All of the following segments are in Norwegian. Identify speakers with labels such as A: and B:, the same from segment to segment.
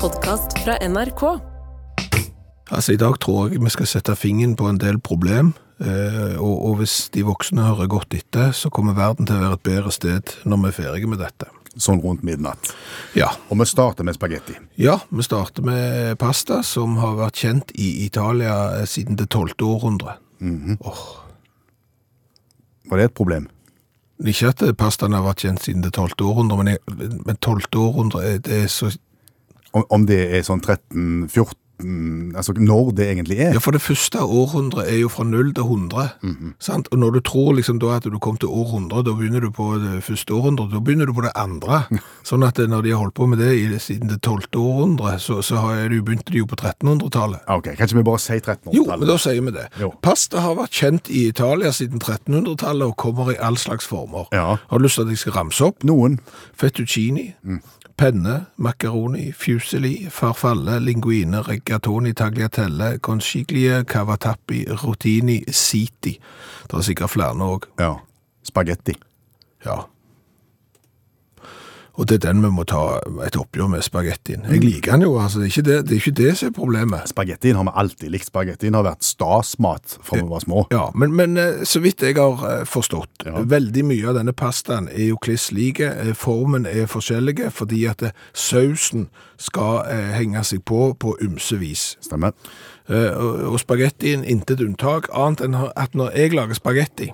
A: podkast fra NRK.
B: Altså, I dag tror jeg vi skal sette fingeren på en del problem, eh, og, og hvis de voksne hører godt etter, så kommer verden til å være et bedre sted når vi er ferdige med dette.
C: sånn rundt midnatt.
B: Ja,
C: Og vi starter med spagetti.
B: ja vi starter med pasta, som har vært kjent i Italia eh, siden det 12. århundre. Åh,
C: Var det et problem?
B: ikke at pastaen har vært kjent siden det 12. århundre, men, jeg, men 12. århundre eh, det er så
C: Om, om det er sånn 13-14 Altså når det egentlig er?
B: Ja, for det første århundret er jo fra 0 til 100.
C: Mhm.
B: sant? Og når du tror liksom da at du kom til århundret, da begynner du på det første århundret, da begynner du på det andre. Sånn at eh, når de har holdt på med det i, siden det 12. århundret, så, så har de, begynte de jo på 1300-tallet.
C: Ah, Ok, Kan ikke vi bare
B: Jo,
C: si
B: men
C: 1300-tallet?
B: da sier vi det.
C: Jo.
B: Pasta har vært kjent i Italia siden 1300-tallet og kommer i all slags former.
C: Ja.
B: Har du lyst til at jeg skal ramse opp?
C: Noen.
B: Fettuccini, penne, makaroni, fuseli, farfalle, linguine, regatoni, tagliatelle, conchiglie, cavatappi, rotini, siti. Det er sikkert flere òg.
C: Ja. Spagetti.
B: Ja. Og det er den vi må ta et oppgjør med spagettien. Jeg liker den jo, altså. Det er ikke det, det, er ikke det som er problemet.
C: Spagettien har vi alltid likt. Spagettien har vært stasmat fra vi var små.
B: Ja, men, men eh, så vidt jeg har eh, forstått,
C: Ja.
B: veldig mye av denne pastaen er jo kliss like. eh, Formen er forskjellige, fordi at eh, sausen skal eh, henge seg på på ymse vis.
C: Stemmer.
B: Eh, og og spagettien intet unntak, annet enn at når jeg lager spagetti,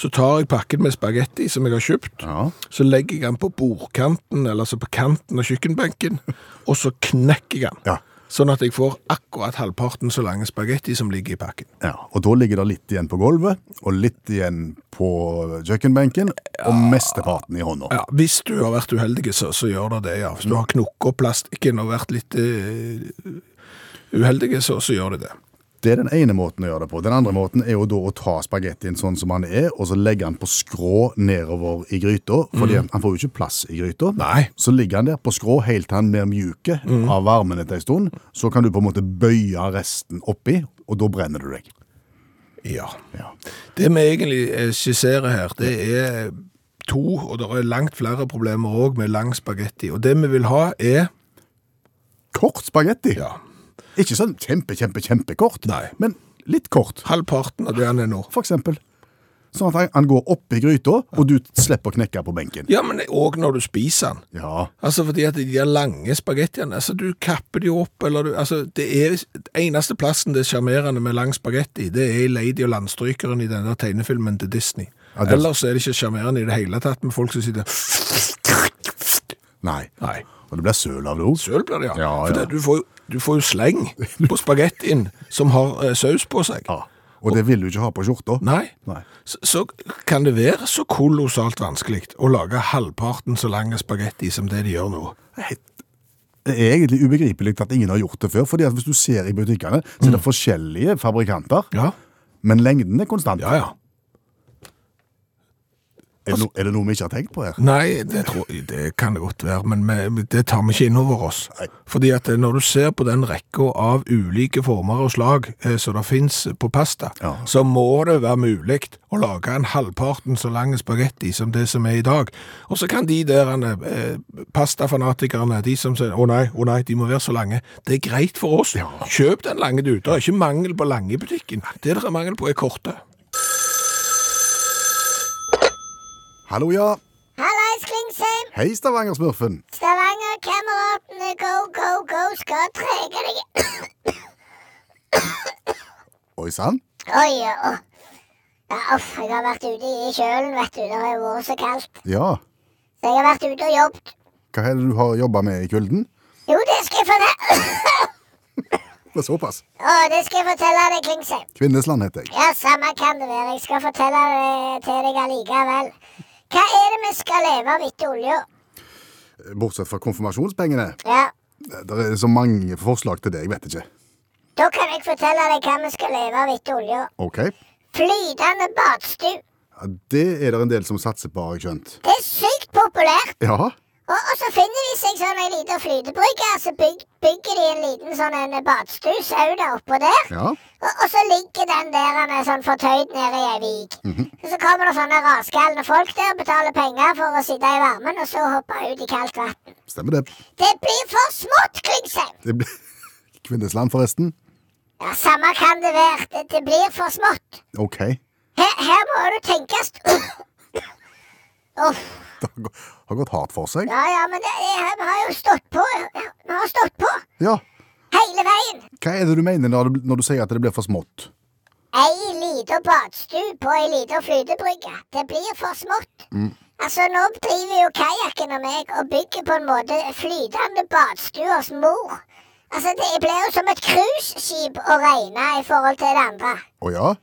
B: så tar jeg pakken med spagetti som jeg har kjøpt,
C: Ja.
B: så legger jeg den på bordkanten, eller altså på kanten av kjøkkenbenken, og så knekker jeg den.
C: Ja.
B: Sånn at jeg får akkurat halvparten så lang spagetti som ligger i pakken.
C: ja. Og da ligger det litt igjen på gulvet, og litt igjen på kjøkkenbenken, og mesteparten i hånda.
B: Ja, Hvis du har vært uheldig, så, så gjør det det, ja. Hvis du har knukket opp plastikken og vært litt eh, uheldig, så, så gjør det det.
C: Det er den ene måten å gjøre det på. Den andre måten er jo da å ta spagettien sånn som han er, og så legge han på skrå nedover i gryta, fordi han- han får jo ikke plass i gryta.
B: Mhm. Nei. Mhm.
C: Så ligger han der på skrå helt til han blir mjuke av varmen etter en stund. Så kan du på en måte bøye resten oppi, og da brenner du deg.
B: Ja.
C: Ja.
B: Det vi egentlig eh, skisserer her, det er to, og det er langt flere problemer òg med lang spagetti. Og det vi vil ha, er
C: Kort spagetti.
B: ja,
C: Ikke sånn kjempe, kjempe, kjempekort,
B: Nei.
C: men litt kort,
B: halvparten av det han er nå.
C: for eksempel. Sånn at han- han går oppi gryta, og du slipper å knekke på benken.
B: Ja, men òg når du spiser den.
C: Ja.
B: Altså fordi at de der lange spagettiene altså Du kapper de opp, eller du altså, det er, Eneste plassen det er sjarmerende med lang spagetti, det er i Lady og Landstrykeren i denne tegnefilmen til Disney.
C: Ja, det-
B: Ellers er det ikke sjarmerende i det hele tatt med folk som sitter
C: Nei.
B: Nei.
C: Og det blir søl av det òg.
B: Søl blir det, ja.
C: Ja,
B: For
C: ja.
B: det, du, får jo, du får jo sleng på spagettien som har eh, saus på seg.
C: Ja. Og det vil du ikke ha på skjorta.
B: Nei.
C: Nei.
B: Så, så kan det være så kolossalt vanskelig å lage halvparten så lang spagetti som det de gjør nå.
C: Helt- Det er egentlig ubegripelig at ingen har gjort det før. fordi at hvis du ser i butikkene, så er det forskjellige fabrikanter,
B: Ja,
C: men lengden er konstant.
B: ja. ja.
C: Er, det no, er det noe vi ikke har tenkt på her?
B: Nei, det, tror, det kan det godt være, men vi- det tar vi ikke inn over oss.
C: Nei.
B: Fordi at eh, når du ser på den rekka av ulike former og slag eh, som det fins på pasta,
C: Ja.
B: så må det være mulig å lage en halvparten så lang spagetti som det som er i dag. Og så kan de der eh, pastafanatikerne, de som sier 'Å nei, å nei, de må være så lange', det er greit for oss. Kjøp den lange du. Det er ikke mangel på lange i butikken. Det det er mangel på, er korte.
C: Hallo, ja.
D: Hallais, Klingsheim!
C: Hei, Stavanger-smurfen.
D: Stavanger-kameratene, go, go, go, skal trege deg
C: Oi sann.
D: Oi, ja. å. Ja, uff, jeg har vært ute i kjølen, vet du. Det har jo vært så kaldt.
C: Ja.
D: Så jeg har vært ute og jobbet.
C: Hva er det du har jobba med i kulden?
D: Jo, det skal jeg fortelle
C: Det er såpass.
D: Å, det skal jeg fortelle deg, Klingsheim.
C: Kvinnesland heter jeg.
D: Ja, samme kan det være. Jeg skal fortelle det til deg allikevel. Hva er det vi skal leve av etter olja?
C: Bortsett fra konfirmasjonspengene.
D: Ja,
C: Det er så mange forslag til det, jeg vet ikke.
D: da kan jeg fortelle deg hva vi skal leve av etter olja.
C: Ok.
D: Flytende badstue.
C: Ja, det er det en del som satser på, har jeg skjønt.
D: Det er sykt populært.
C: Ja.
D: Og Og, og så finner de seg sånn ei lita flytebrygge, så byg, bygger de en liten sånn en badstue, sauna, oppå der.
C: Ja.
D: Og, og så ligger den der han er sånn fortøyd nede i ei vik. Og Så kommer det sånne raskalne folk der, betaler penger for å sitte i varmen, og så hoppe ut i kaldt vann.
C: Stemmer det.
D: Det blir for smått, Klingsheim!
C: det ble... Kvinnesland, forresten.
D: Ja, samme kan det være. Det, det blir for smått.
C: OK.
D: Her, her må du tenkes Uff.
C: Det har gå- har gått hardt for seg.
D: Ja, ja, men det, jeg, vi har jo stått på. Ja, Vi har stått på
C: Ja.
D: hele veien.
C: Hva er det du mener når du, når du sier at det blir for smått?
D: Ei lita badstue på ei lita flytebrygge. Det blir for smått. Altså, nå driver jo kajakken og meg og bygger på en måte flytende badstue hos mor. Altså, det blir jo som et cruiseskip å regne i forhold til det andre.
C: Å ja?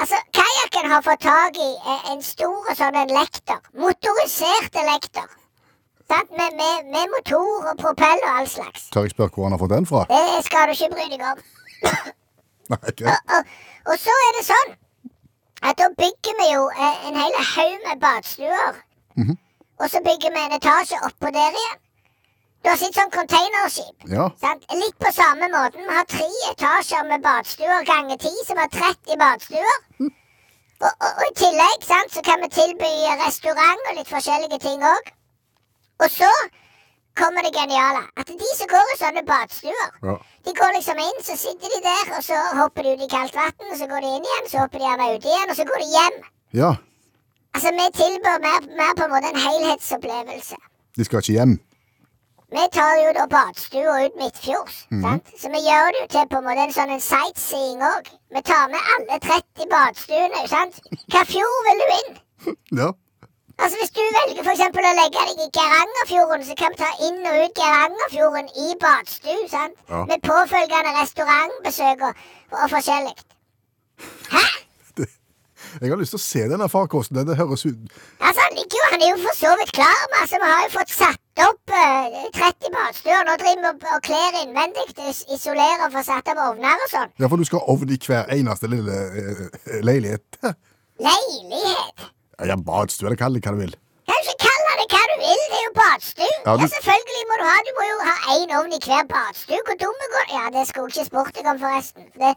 D: Altså, Kajakken har fått tak i eh, en stor sånn en lekter. Motorisert lekter. Sant? Med, med, med motor og propell og all slags.
C: Tør jeg spørre hvor han har fått den fra?
D: Det skal du ikke bry deg om.
C: Nei, ikke.
D: Og, og så er det sånn at da bygger vi jo eh, en hel haug med badestuer. Og så bygger vi en etasje oppå der igjen. Du har sett sånn containerskip.
C: Ja.
D: Sant? Litt på samme måten. Vi har tre etasjer med badstuer ganger ti, som har 30 badstuer. Og, og, og i tillegg sant, så kan vi tilby restaurant og litt forskjellige ting òg. Og så kommer det geniale. At de som går i sånne badstuer,
C: ja.
D: de går liksom inn, så sitter de der, og så hopper de ut i kaldt vann, så går de inn igjen, så hopper de gjerne ut igjen, og så går de hjem.
C: Ja.
D: Altså, vi tilbyr mer, mer på en måte en helhetsopplevelse.
C: De skal ikke hjem.
D: Vi tar jo da badstua ut midtfjords, sant? så vi gjør det jo til på en måte en sånn en sightseeing òg. Vi tar med alle 30 badstuene, sant. Hva fjord vil du inn?
C: Ja.
D: Altså Hvis du velger for eksempel å legge deg i Geirangerfjorden, så kan vi ta inn og ut Geirangerfjorden i badstue, sant.
C: Ja.
D: Med påfølgende restaurantbesøk og, og forskjellig. Hæ?
C: Jeg har lyst til å se denne farkosten. Det- Det høres ut
D: Altså, han ligger jo, han er jo for så vidt klar med, altså, vi har jo fått satt opp eh, 30 badstuer. Nå driver vi og, og kler innvendig, is- isolerer og får satt opp ovner og sånn.
C: Ja, for du skal ha ovn i hver eneste lille eh, leilighet.
D: Leilighet!
C: Ja, Ja, badstue eller kall det hva du vil.
D: Kan du ikke kalle det hva du vil, det er jo badstue.
C: Ja,
D: Ja,
C: du-
D: selvfølgelig må du ha, du må jo ha én ovn i hver badstue. Hvor dumme går Ja, det skulle jeg ikke spurt deg om, forresten. Det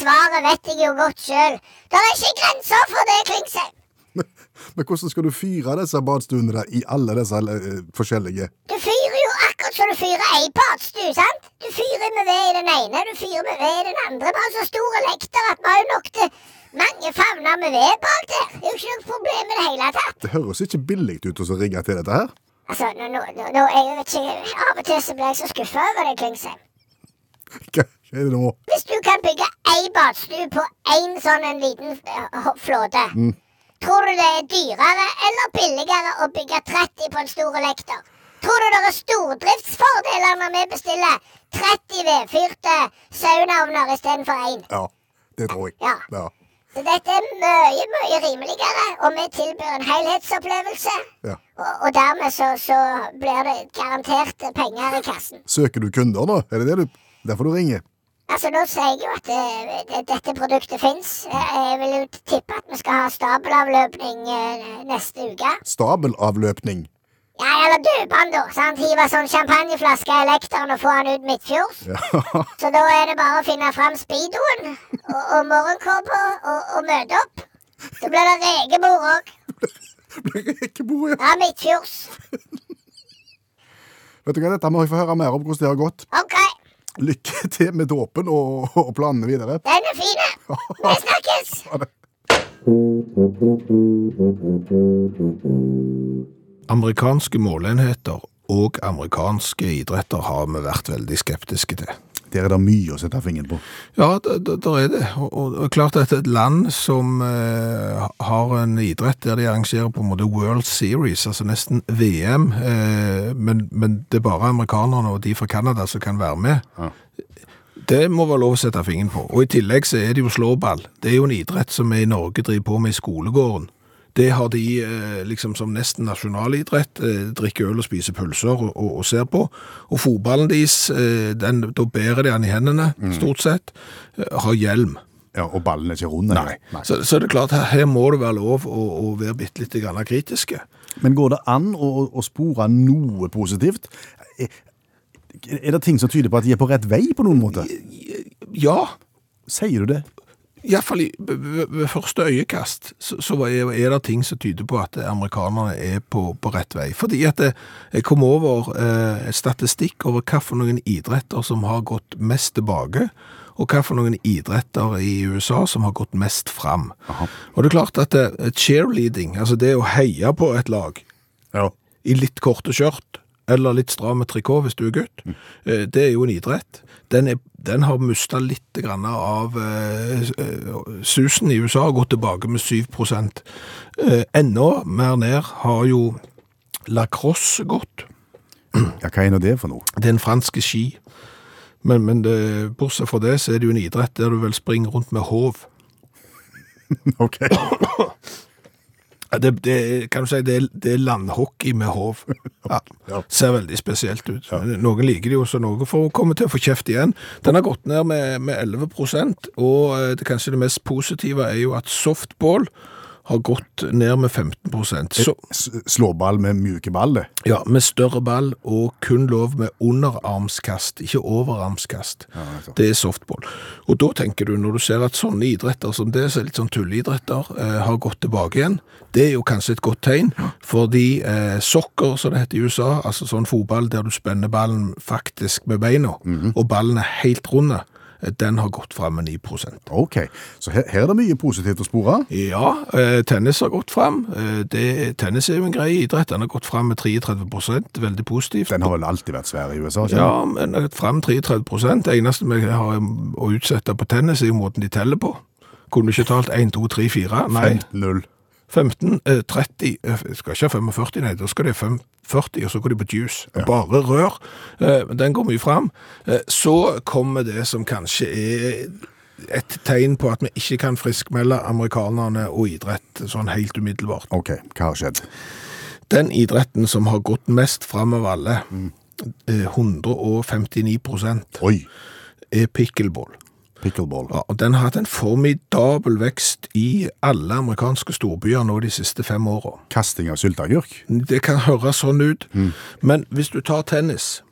D: svaret vet jeg jo godt sjøl. Det er ikke grenser for det, Klingsheim.
C: Men hvordan skal du fyre disse badstuene der i alle disse eh, forskjellige
D: Du fyrer jo akkurat som du fyrer ei badstue, sant? Du fyrer med ved i den ene, du fyrer med ved i den andre. Vi har så store lekter at vi har jo nok til mange favner med ved bak der. Det er jo ikke noe problem i det hele tatt.
C: Det høres ikke billig ut å så rigge til dette her.
D: Altså, nå, nå, nå, nå jeg vet ikke, Av og til så blir jeg så skuffa over deg, Klingsheim.
C: Hva hva er det nå?
D: Hvis du kan bygge ei badstue på én sånn en liten eh, hå- flåte, tror du det er dyrere eller billigere å bygge 30 på en stor lekter? Tror du det er stordriftsfordeler når vi bestiller 30 vedfyrte saunaovner istedenfor én?
C: Ja, det tror jeg.
D: Ja.
C: Ja.
D: Så dette er mye, mye rimeligere, og vi tilbyr en helhetsopplevelse.
C: ja.
D: Og, og dermed så, så blir det garantert penger i kassen.
C: Søker du kunder nå? Er det det du Derfor du ringer?
D: Altså, Nå sier jeg jo at eh, det, dette produktet fins. Jeg vil jo tippe at vi skal ha stabelavløpning eh, neste uke.
C: Stabelavløpning.
D: Ja, Eller døpe han, da. sant? Hive sånn champagneflaske i lekteren og få han ut midtfjords.
C: Ja.
D: Så da er det bare å finne fram speedoen og, og morgenkåpa og, og møte opp. Så blir det rekebord òg.
C: Blir rekebord, ja.
D: Ja, midtfjords.
C: Vet du hva, dette må jeg få høre mer om hvordan det har gått.
D: OK,
C: Lykke til med dåpen og, og planene videre.
D: den er fin. Vi snakkes!
B: Amerikanske måleenheter og amerikanske idretter har vi vært veldig skeptiske til.
C: Der er det mye å sette fingeren på.
B: Ja, der er det. Og, og, og klart at et land som eh, har en idrett der de arrangerer på en måte World Series, altså nesten VM, eh, men, men det er bare amerikanerne og de fra Canada som kan være med.
C: Ja.
B: Det må være lov å sette fingeren på. Og i tillegg så er det jo slåball. Det er jo en idrett som vi i Norge driver på med i skolegården. Det har de eh, liksom som nesten nasjonalidrett. Eh, drikker øl og spiser pølser og, og, og ser på. Og fotballen deres, eh, den, da bærer de den i hendene, stort sett. Eh, har hjelm.
C: Ja, Og ballen er ikke rund? eller? Nei.
B: Så, så det er klart, her, her må det være lov å, å være bitte litt grann kritiske.
C: Men går det an å, å- å spore noe positivt? Er, er det ting som tyder på at de er på rett vei på noen måte?
B: Ja,
C: Sier du det?
B: iallfall ved ved første øyekast så, så er, er det ting som tyder på at eh, amerikanerne er på, på rett vei. Fordi at eh, jeg kom over eh, statistikk over hva for noen idretter som har gått mest tilbake, og hva for noen idretter i USA som har gått mest fram. Og det er klart at eh, cheerleading, altså det å heie på et lag,
C: Ja.
B: i litt korte skjørt eller litt stramme trikot hvis du er gutt. Eh, Det er jo en idrett. Den, er, den har mista litt grann av eh, s- eh, susen i USA og gått tilbake med 7 eh, Enda mer ned har jo lacrosse gått.
C: ja, hva er nå det for noe?
B: Det er en fransk ski. Men, men det, bortsett fra det, så er det jo en idrett der du vel springer rundt med håv.
C: Ok.
B: Ja, Det, det, kan du si, det, er- det er landhockey med hov. Ja,
C: Ja.
B: ser veldig spesielt ut. Noen liker det jo, så noen får komme til å få kjeft igjen. Den har gått ned med, med 11 og eh, det, kanskje det mest positive er jo at softball har gått ned med 15 så,
C: S- Slåball med mjuke ball, det.
B: ja, Med større ball og kun lov med underarmskast, ikke overarmskast. det er softball. Og da tenker du, når du ser at sånne idretter som det, som er litt sånn tulleidretter, eh, har gått tilbake igjen, det er jo kanskje et godt tegn, fordi eh, sokker, som det heter i USA, altså sånn fotball der du spenner ballen faktisk med beina, og ballen er helt runde, eh, den har gått fram med 9
C: Ok, så her, her er det mye positivt å spore.
B: ja, eh, tennis har gått fram. Eh, det, tennis er jo en grei idrett. Den har gått fram med 33 veldig positivt.
C: Den har vel alltid vært svær i USA?
B: Altså,
C: ikke
B: Ja, men frem 33 prosent. Det eneste vi har å utsette på tennis, er jo måten de teller på. Kunne du ikke talt 1, 2, 3, 4? Nei,
C: sant? 15-0.
B: 15, eh, 30 eh, Skal ikke ha 45, nei. Da skal det 5, 40, og så går de på juice. Bare rør. Eh, Den går mye fram. Eh, Så kommer det som kanskje er et tegn på at vi ikke kan friskmelde amerikanerne og idrett sånn helt umiddelbart.
C: Ok, hva har skjedd?
B: Den idretten som har gått mest fram av alle, eh, 159
C: Oi,
B: er pickleball.
C: pickleball.
B: Ja, og den har hatt en formidabel vekst i alle amerikanske storbyer nå de siste fem åra.
C: Kasting av sylteagurk.
B: Det kan høres sånn ut, men hvis du tar tennis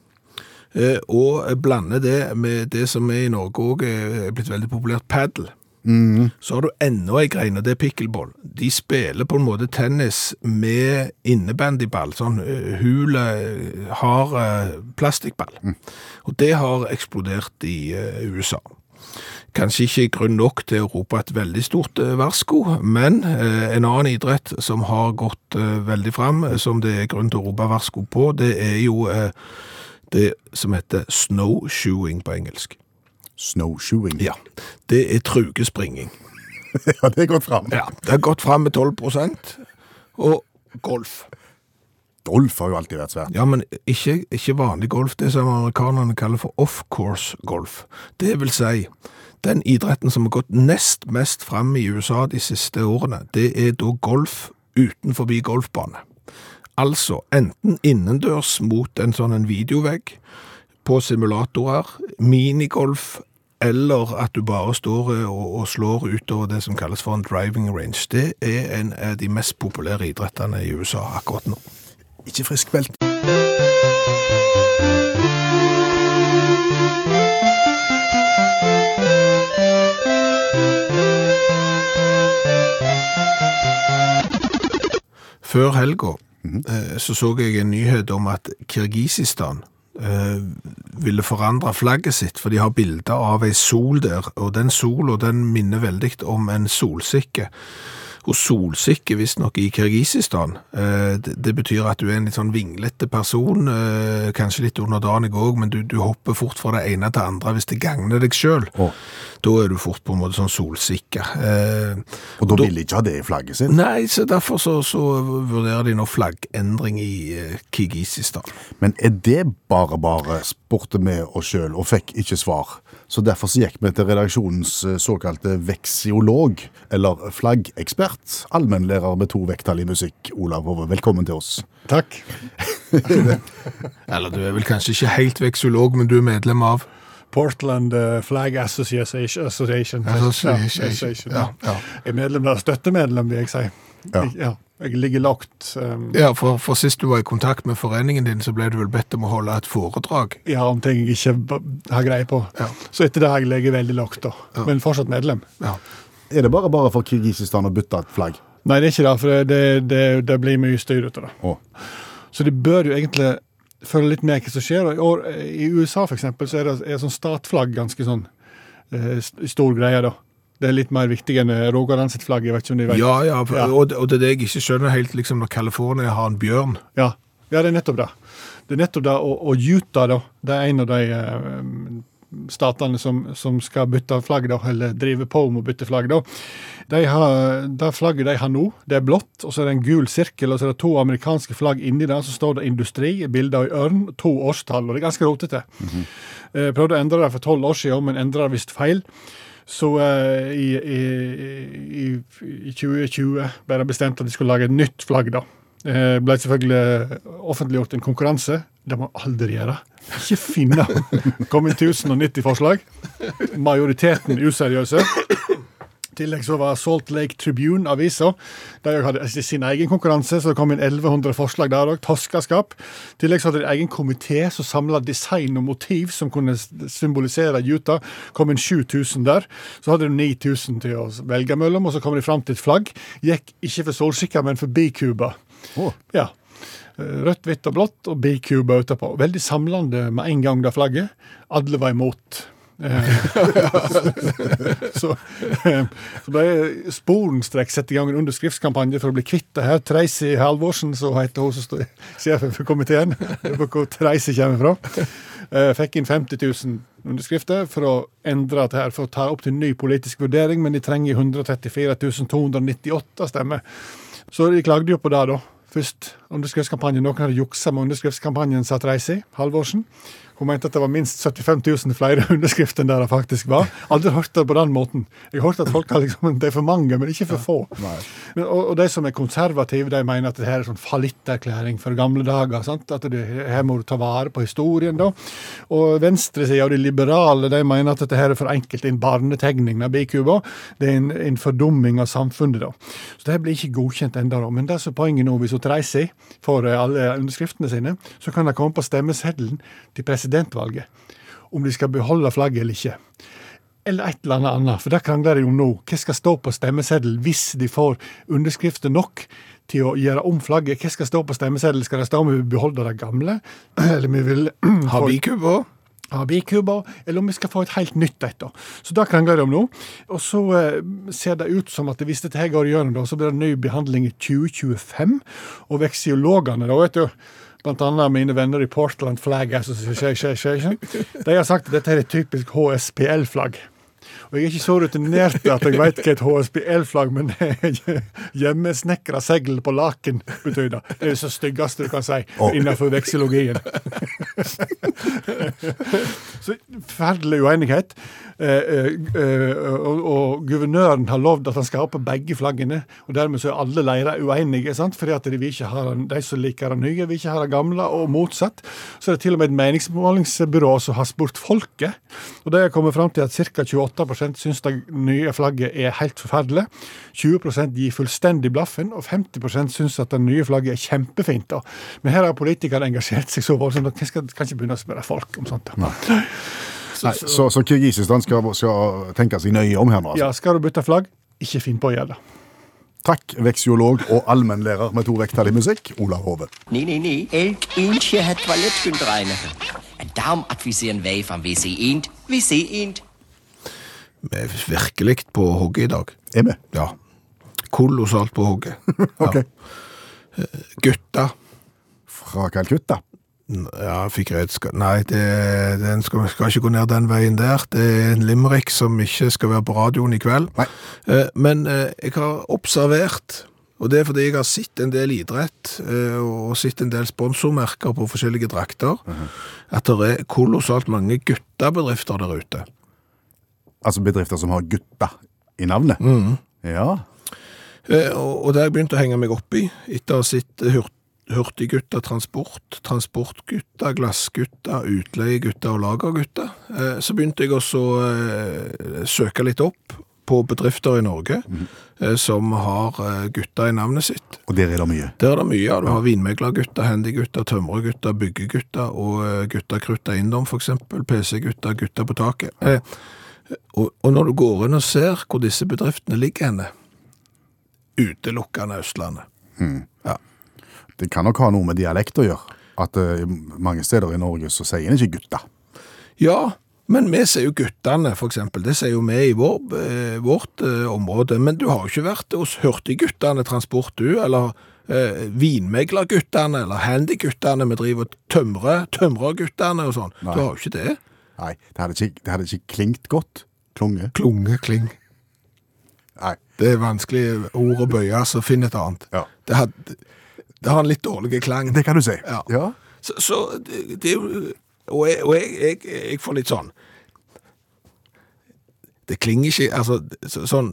B: eh, og blander det med det som er i Norge òg er blitt veldig populært, padel, så har du enda ei grein, og det er pickleball. De spiller på en måte tennis med innebandyball, sånn eh, hule, eh, hard eh, plastikkball. Og det har eksplodert i eh, USA. Kanskje ikke grunn nok til å rope et veldig stort eh, varsko, men eh, en annen idrett som har gått eh, veldig fram, eh, som det er grunn til å rope varsko på, det er jo eh, det som heter snowshoeing på engelsk.
C: Snowshoeing.
B: Ja, det er trugespringing.
C: Ja, det går fram.
B: Ja, det har gått fram med 12 og golf.
C: Golf har jo alltid vært svært.
B: Ja, men ikke, ikke vanlig golf, det som amerikanerne kaller for off-course golf. Det vil si, den idretten som har gått nest mest frem i USA de siste årene, det er da golf utenfor golfbane. Altså, enten innendørs mot en sånn en videovegg, på simulatorer, minigolf, eller at du bare står eh, og, og slår utover det som kalles for en driving range. Det er en av de mest populære idrettene i USA akkurat nå.
C: Ikke friskmeldt.
B: Før helga eh, så så jeg en nyhet om at Kirgisistan eh, ville forandre flagget sitt, for de har bilder av ei sol der, og den sola den minner veldig om en solsikke. Og solsikke, visstnok i Kirgisistan, eh, det, det betyr at du er en litt sånn vinglete person, eh, kanskje litt underdanig òg, men du, du hopper fort fra det ene til det andre hvis det gagner deg sjøl.
C: Å.
B: Da er du fort på en måte sånn solsikke. Eh,
C: Og da vil de ikke ha det i flagget sitt.
B: Nei, så derfor så, så vurderer de nå flaggendring i eh, Kirgisistan.
C: Men er det bare bare, spurte vi oss sjøl, og fikk ikke svar. Så derfor så gikk vi til redaksjonens eh, såkalte veksiolog, eller flaggekspert, allmennlærer med to vekttall i musikk, Olav Hove. Velkommen til oss.
A: Takk.
B: Eller du er vel kanskje ikke helt veksolog, men du er medlem av
A: Portland eh, Flag Association. Association.
B: Association,
A: Ja, Association.
B: ja, ja.
A: Jeg er medlem der, støttemedlem, vil jeg si.
C: Ja.
A: Jeg, ja, jeg ligger lagt. ehm,
B: Ja, for, for sist du var i kontakt med foreningen din, så ble du vel bedt om å holde et foredrag.
A: Jeg har om ting jeg ikke b- har greie på.
B: Ja.
A: Så etter det har jeg ligget veldig lagt, da. Men fortsatt medlem.
B: Ja.
C: Er det bare bare for Kirgisistan å bytte et flagg?
A: Nei, det er ikke det, for det, det, det, det blir mye styr ut av det.
C: Å,
A: Så de bør jo egentlig følge litt med hva som skjer. Og I, år, i USA for eksempel, så er, det, er sånn statflagg ganske sånn eh, st- stor greie, da. Det er litt mer viktig enn eh, Rogaland sitt flagg, jeg vet ikke om de vet.
B: Ja, ja, for-
A: Ja.
B: Og, det- og det er det jeg ikke skjønner helt, liksom når California har en bjørn.
A: Ja, ja det er nettopp det. Det er nettopp det, og, og Utah, da, det er en av de eh, statene som, som skal bytte flagg, da, eller drive på med å bytte flagg, da. De har, det flagget de har nå, det er blått, og så er det en gul sirkel, og så er det to amerikanske flagg inni der, så står det industri, bilder av ei ørn, to årstall, og det er ganske rotete. Eh, Prøvde å endre det for tolv år siden, men endra visst feil. Så eh, i, i, i, i 2020 ble det bestemt at de skulle lage et nytt flagg, da. Eh, ble selvfølgelig eh, offentliggjort en konkurranse. Det må jeg aldri gjøre. Ikke finne. Kom inn 1090 forslag. Majoriteten useriøse. I tillegg så var Salt Lake Tribune-avisa. De hadde altså, sin egen konkurranse, så det kom inn 1100 forslag der òg. Toskaskap. I tillegg så hadde de egen komité som samla design og motiv som kunne s- symbolisere Utah. kom inn 7000 der. Så hadde de 9000 til å velge mellom, og så kom de fram til et flagg. Gikk ikke for solsikker, men for bikuber.
C: å.
A: Ja. Eh, Rødt, hvitt og blått, og bikuber utapå. Veldig samlende med en gang, det flagget. Alle var imot. Eh, så, eh, så ble sporenstreks satt i gang en underskriftskampanje for å bli kvitt det her. Tracy Halvorsen, så heter hun som står sjefen for komiteen, Det er hvor Tracy kommer fra, eh, fikk inn 50 000 underskrifter for å endre dette her, for å ta opp til ny politisk vurdering, men de trenger 134 298 stemmer. Så de klagde jo på det, da. Først underskriftskampanjen. Noen hadde juksa med underskriftskampanjen, sa Treisi Halvorsen. Hun mente at det var minst 75 000 flere underskrifter enn det det faktisk var. Aldri hørt det på den måten. Jeg hørte at folk har liksom, det er for mange, men ikke for få. Men, og, og de som er konservative, de mener at det her er sånn fallitterklæring for gamle dager. sant? At det, her må du ta vare på historien, da. Og venstresida og de liberale de mener at dette her er for enkelt en barnetegning av bikuba. Det er en, en fordumming av samfunnet, da. Så det her blir ikke godkjent ennå, da. Men det som er poenget nå, hvis hun Treisi får eh, alle underskriftene sine, så kan det komme på stemmeseddelen til presidentvalget om de skal beholde flagget eller ikke. Eller et eller annet annet, for det krangler de om nå. Hva skal stå på stemmeseddelen hvis de får underskrifter nok til å gjøre om flagget? Hva skal stå på stemmeseddelen? Skal det stå om vi vil beholde det gamle, eller om vi vil
B: Har
A: få-
B: bikube òg?
A: av bikuber, eller om vi skal få et helt nytt et. da. Så det krangler de om nå. Og så eh, ser det ut som at hvis dette her går gjennom, da, så blir det ny behandling i 2025. Og veksiologene, da, vet du Blant annet mine venner i Portland Flag altså, Association. De har sagt at dette her er typisk HSPL-flagg. Og jeg er ikke så rutinert at jeg veit hva et HSBL-flagg men hjemmesnekra segl på laken betyr det. Det er det styggeste du kan si innenfor vekselogien. så forferdelig uenighet. Eh, eh, eh, og, og guvernøren har lovd at han skal ha på begge flaggene, og dermed så er alle leirer uenige, sant? fordi at de, vil ikke ha, den- de som liker det nye, vil ikke ha det gamle, og motsatt. Så er det til og med et meningsmålingsbyrå som har spurt folket, og de har kommet fram til at ca. 28 syns det nye flagget er helt forferdelig, 20 gir fullstendig blaffen, og 50 syns at det nye flagget er kjempefint. Da. Men her har politikerne engasjert seg så voldsomt, og jeg skal, kan ikke begynne å spørre folk om sånt. da.
C: Nei, så, så Kirgisistan skal, skal tenke seg nøye om her nå. Altså.
A: Ja, skal du bytte flagg? Ikke finn på å gjøre det.
C: Takk, veksiolog og allmennlærer med to vekttall i musikk, Olav Hove.
E: Nee, nee, nee. Eelt eentje het toilet kunt reinigen. En daarom adviseren wij van WC Eend, WC Eend.
B: Vi er virkelig på hogget i dag.
C: Er vi?
B: Ja. Kolossalt på hogget.
C: Ok.
B: Gutta.
C: Fra Calcutta.
B: Ja, jeg fikk redskap. Nei, det, den skal, skal ikke gå ned den veien der. Det er en limerick som ikke skal være på radioen i kveld.
C: Nei.
B: Eh, Men eh, jeg har observert, og det er fordi jeg har sett en del idrett, eh, og sett en del sponsormerker på forskjellige drakter, at det er kolossalt mange guttabedrifter der ute.
C: Altså bedrifter som har gutta i navnet. Ja.
B: Eh, Og, og det har jeg begynt å henge meg opp i, etter å ha sett eh, hurt, Hurtiggutta Transport, Transportgutta, Glassgutta, Utleiegutta og Lagergutta. Eh, Så begynte jeg også å eh, søke litt opp, på bedrifter i Norge eh, som har eh, gutter i navnet sitt.
C: Og der er det mye.
B: Der er det mye. av. Du har vinmeglergutter, handygutter, tømmergutter, byggegutter og eh, gutter krutt eiendom, f.eks. PC-gutter, gutter på taket. Eh, Og, og når du går inn og ser hvor disse bedriftene ligger henne, utelukkende Østlandet.
C: Det kan nok ha noe med dialekt å gjøre. At eh, mange steder i Norge så sier en ikke gutta.
B: Ja, men vi ser jo guttene, for eksempel. Det ser jo vi i vår, eh, vårt eh, område. Men du har jo ikke vært hos Hurtigguttene Transport, du, eller eh, Vinmeglerguttene, eller Handyguttene vi driver og tømrer, tømrerguttene og sånn. Du har jo ikke det.
C: Nei, det hadde ikke, det hadde ikke klingt godt. Klunge.
B: Klunge, kling.
C: Nei.
B: Det er vanskelig ord å bøye, så finn et annet.
C: Ja.
B: Det, had, det har en litt dårlig klang.
C: Det kan du si.
B: Ja.
C: ja.
B: Så, så det det er jo Og, jeg, og jeg, jeg, jeg får litt sånn Det klinger ikke Altså, så, sånn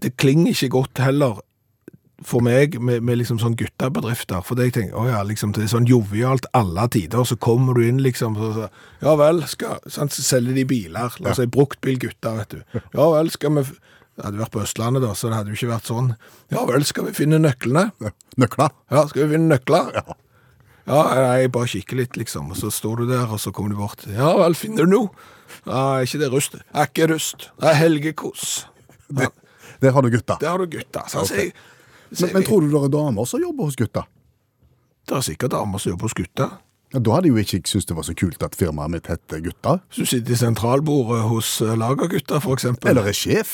B: Det klinger ikke godt heller for meg med, med liksom sånn guttebedrifter. For det jeg tenker, å ja, liksom det er sånn jovialt alle tider, så kommer du inn liksom så, så, Ja vel, skal sant, så selger de biler. La oss si bruktbilgutter, vet du. Ja vel, skal vi f- Det hadde vært på Østlandet, da, så det hadde jo ikke vært sånn. Ja vel, skal vi finne nøklene?
C: Nøkler.
B: Ja, skal vi finne nøkler? Ja. nei, jeg bare kikker litt, liksom. Og så står du der, og så kommer du bort. Ja vel, finner du noe? Nei, ikke det rust. Er ikke rust. Det er helgekos. Ja,
C: Der har du gutta.
B: der har du gutta. Så han
C: Ok.
B: sier
C: Men, men tror du det er damer som jobber hos gutta?
B: Det er sikkert damer som jobber hos gutta.
C: Ja, da hadde jo ikke jeg syntes det var så kult at firmaet mitt het eh, Gutta.
B: Hvis du sitter i sentralbordet hos eh, lagergutta, for eksempel.
C: Eller er sjef.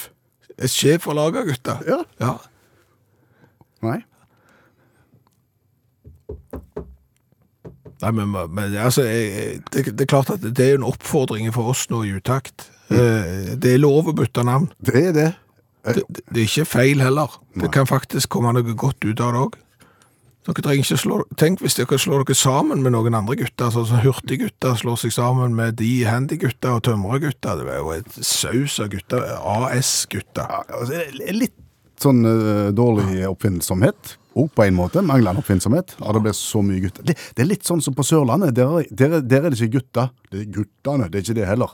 B: er sjef for lagergutta.
C: Sånn. Ja.
B: ja.
C: Nei.
B: Nei, men, men altså, jeg, jeg- det, det er klart at det er jo en oppfordring for oss nå i utakt.
C: Mm.
B: Eh, Det er lov å bytte navn.
C: Det er det.
B: Det, det- det er ikke feil heller. Det kan faktisk komme noe godt ut av det òg. Dere trenger ikke slå Tenk hvis dere slår dere sammen med noen andre gutter, sånn som hurtiggutter slår seg sammen med de handygutta og tømrergutta. Det er jo et saus av gutter. AS-gutter.
C: Ja, altså, det er litt sånn eh, dårlig oppfinnsomhet. Og på en måte manglende oppfinnsomhet. Ja, det blir så mye gutter. Det, det er litt sånn som på Sørlandet. Der, er- der, er- der er det ikke gutta. Det er guttene. Det er ikke det heller.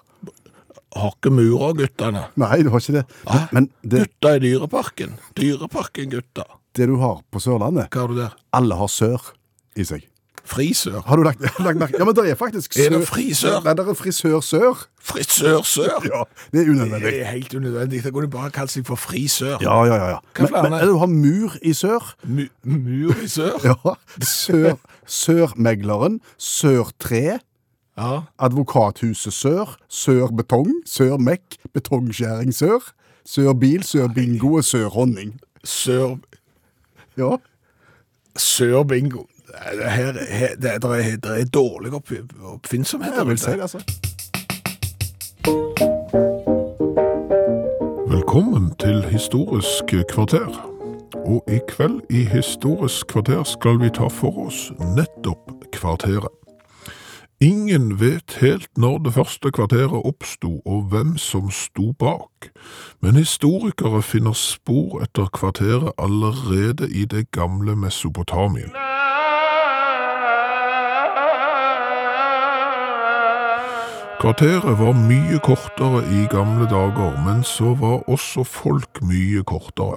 B: Hakkemurerguttene.
C: Nei, det var ikke det. Men, men det,
B: Gutta i Dyreparken. Dyreparken-gutta.
C: det du har på Sørlandet
B: Hva har du der?
C: Alle har sør i seg.
B: Frisør.
C: Har du lagt, lagt merke Ja, men det er faktisk
B: Er det
C: sør-
B: frisør?
C: Nei, det er frisør sør.
B: Frisør-sør.
C: Ja, det er unødvendig.
B: Det er helt unødvendig. Da kunne du bare kalt seg for frisør.
C: Ja, ja, ja. ja.
B: Hva
C: Men,
B: flere
C: men
B: er det?
C: du har mur i sør.
B: Mu mur i sør.
C: Ja. Sør, sørmegleren. Sørtre.
B: Ja.
C: Advokathuset Sør, Sør Betong, Sør Mek, Betongskjæring Sør, Sør Bil, Sør Bingo og Sør Honning.
B: Sør...
C: Ja.
B: Sør-bingo. Nei, det Her, her, det, der er, der er dårlig opp, oppfinnsomhet.
C: Jeg vil
B: rundt
C: si det, altså.
F: Velkommen til Historisk kvarter. Og i kveld i Historisk kvarter skal vi ta for oss nettopp kvarteret. Ingen vet helt når det første kvarteret oppsto og hvem som sto bak, men historikere finner spor etter kvarteret allerede i det gamle Mesopotamien. Kvarteret var mye kortere i gamle dager, men så var også folk mye kortere.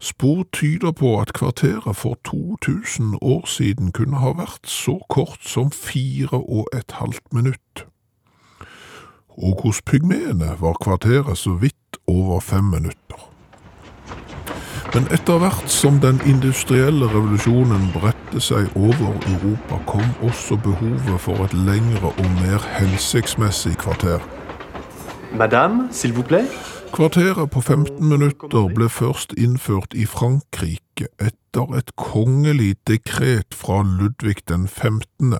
F: Spor tyder på at kvarteret for 2000 år siden kunne ha vært så kort som fire og et halvt minutt. Og hos pygmeene var kvarteret så vidt over fem minutter. Men etter hvert som den industrielle revolusjonen bredte seg over Europa, kom også behovet for et lengre og mer hensiktsmessig kvarter.
G: Madame, s'il vous plaît
F: Kvarteret på 15 minutter ble først innført i Frankrike etter et kongelig dekret fra Ludvig den 15.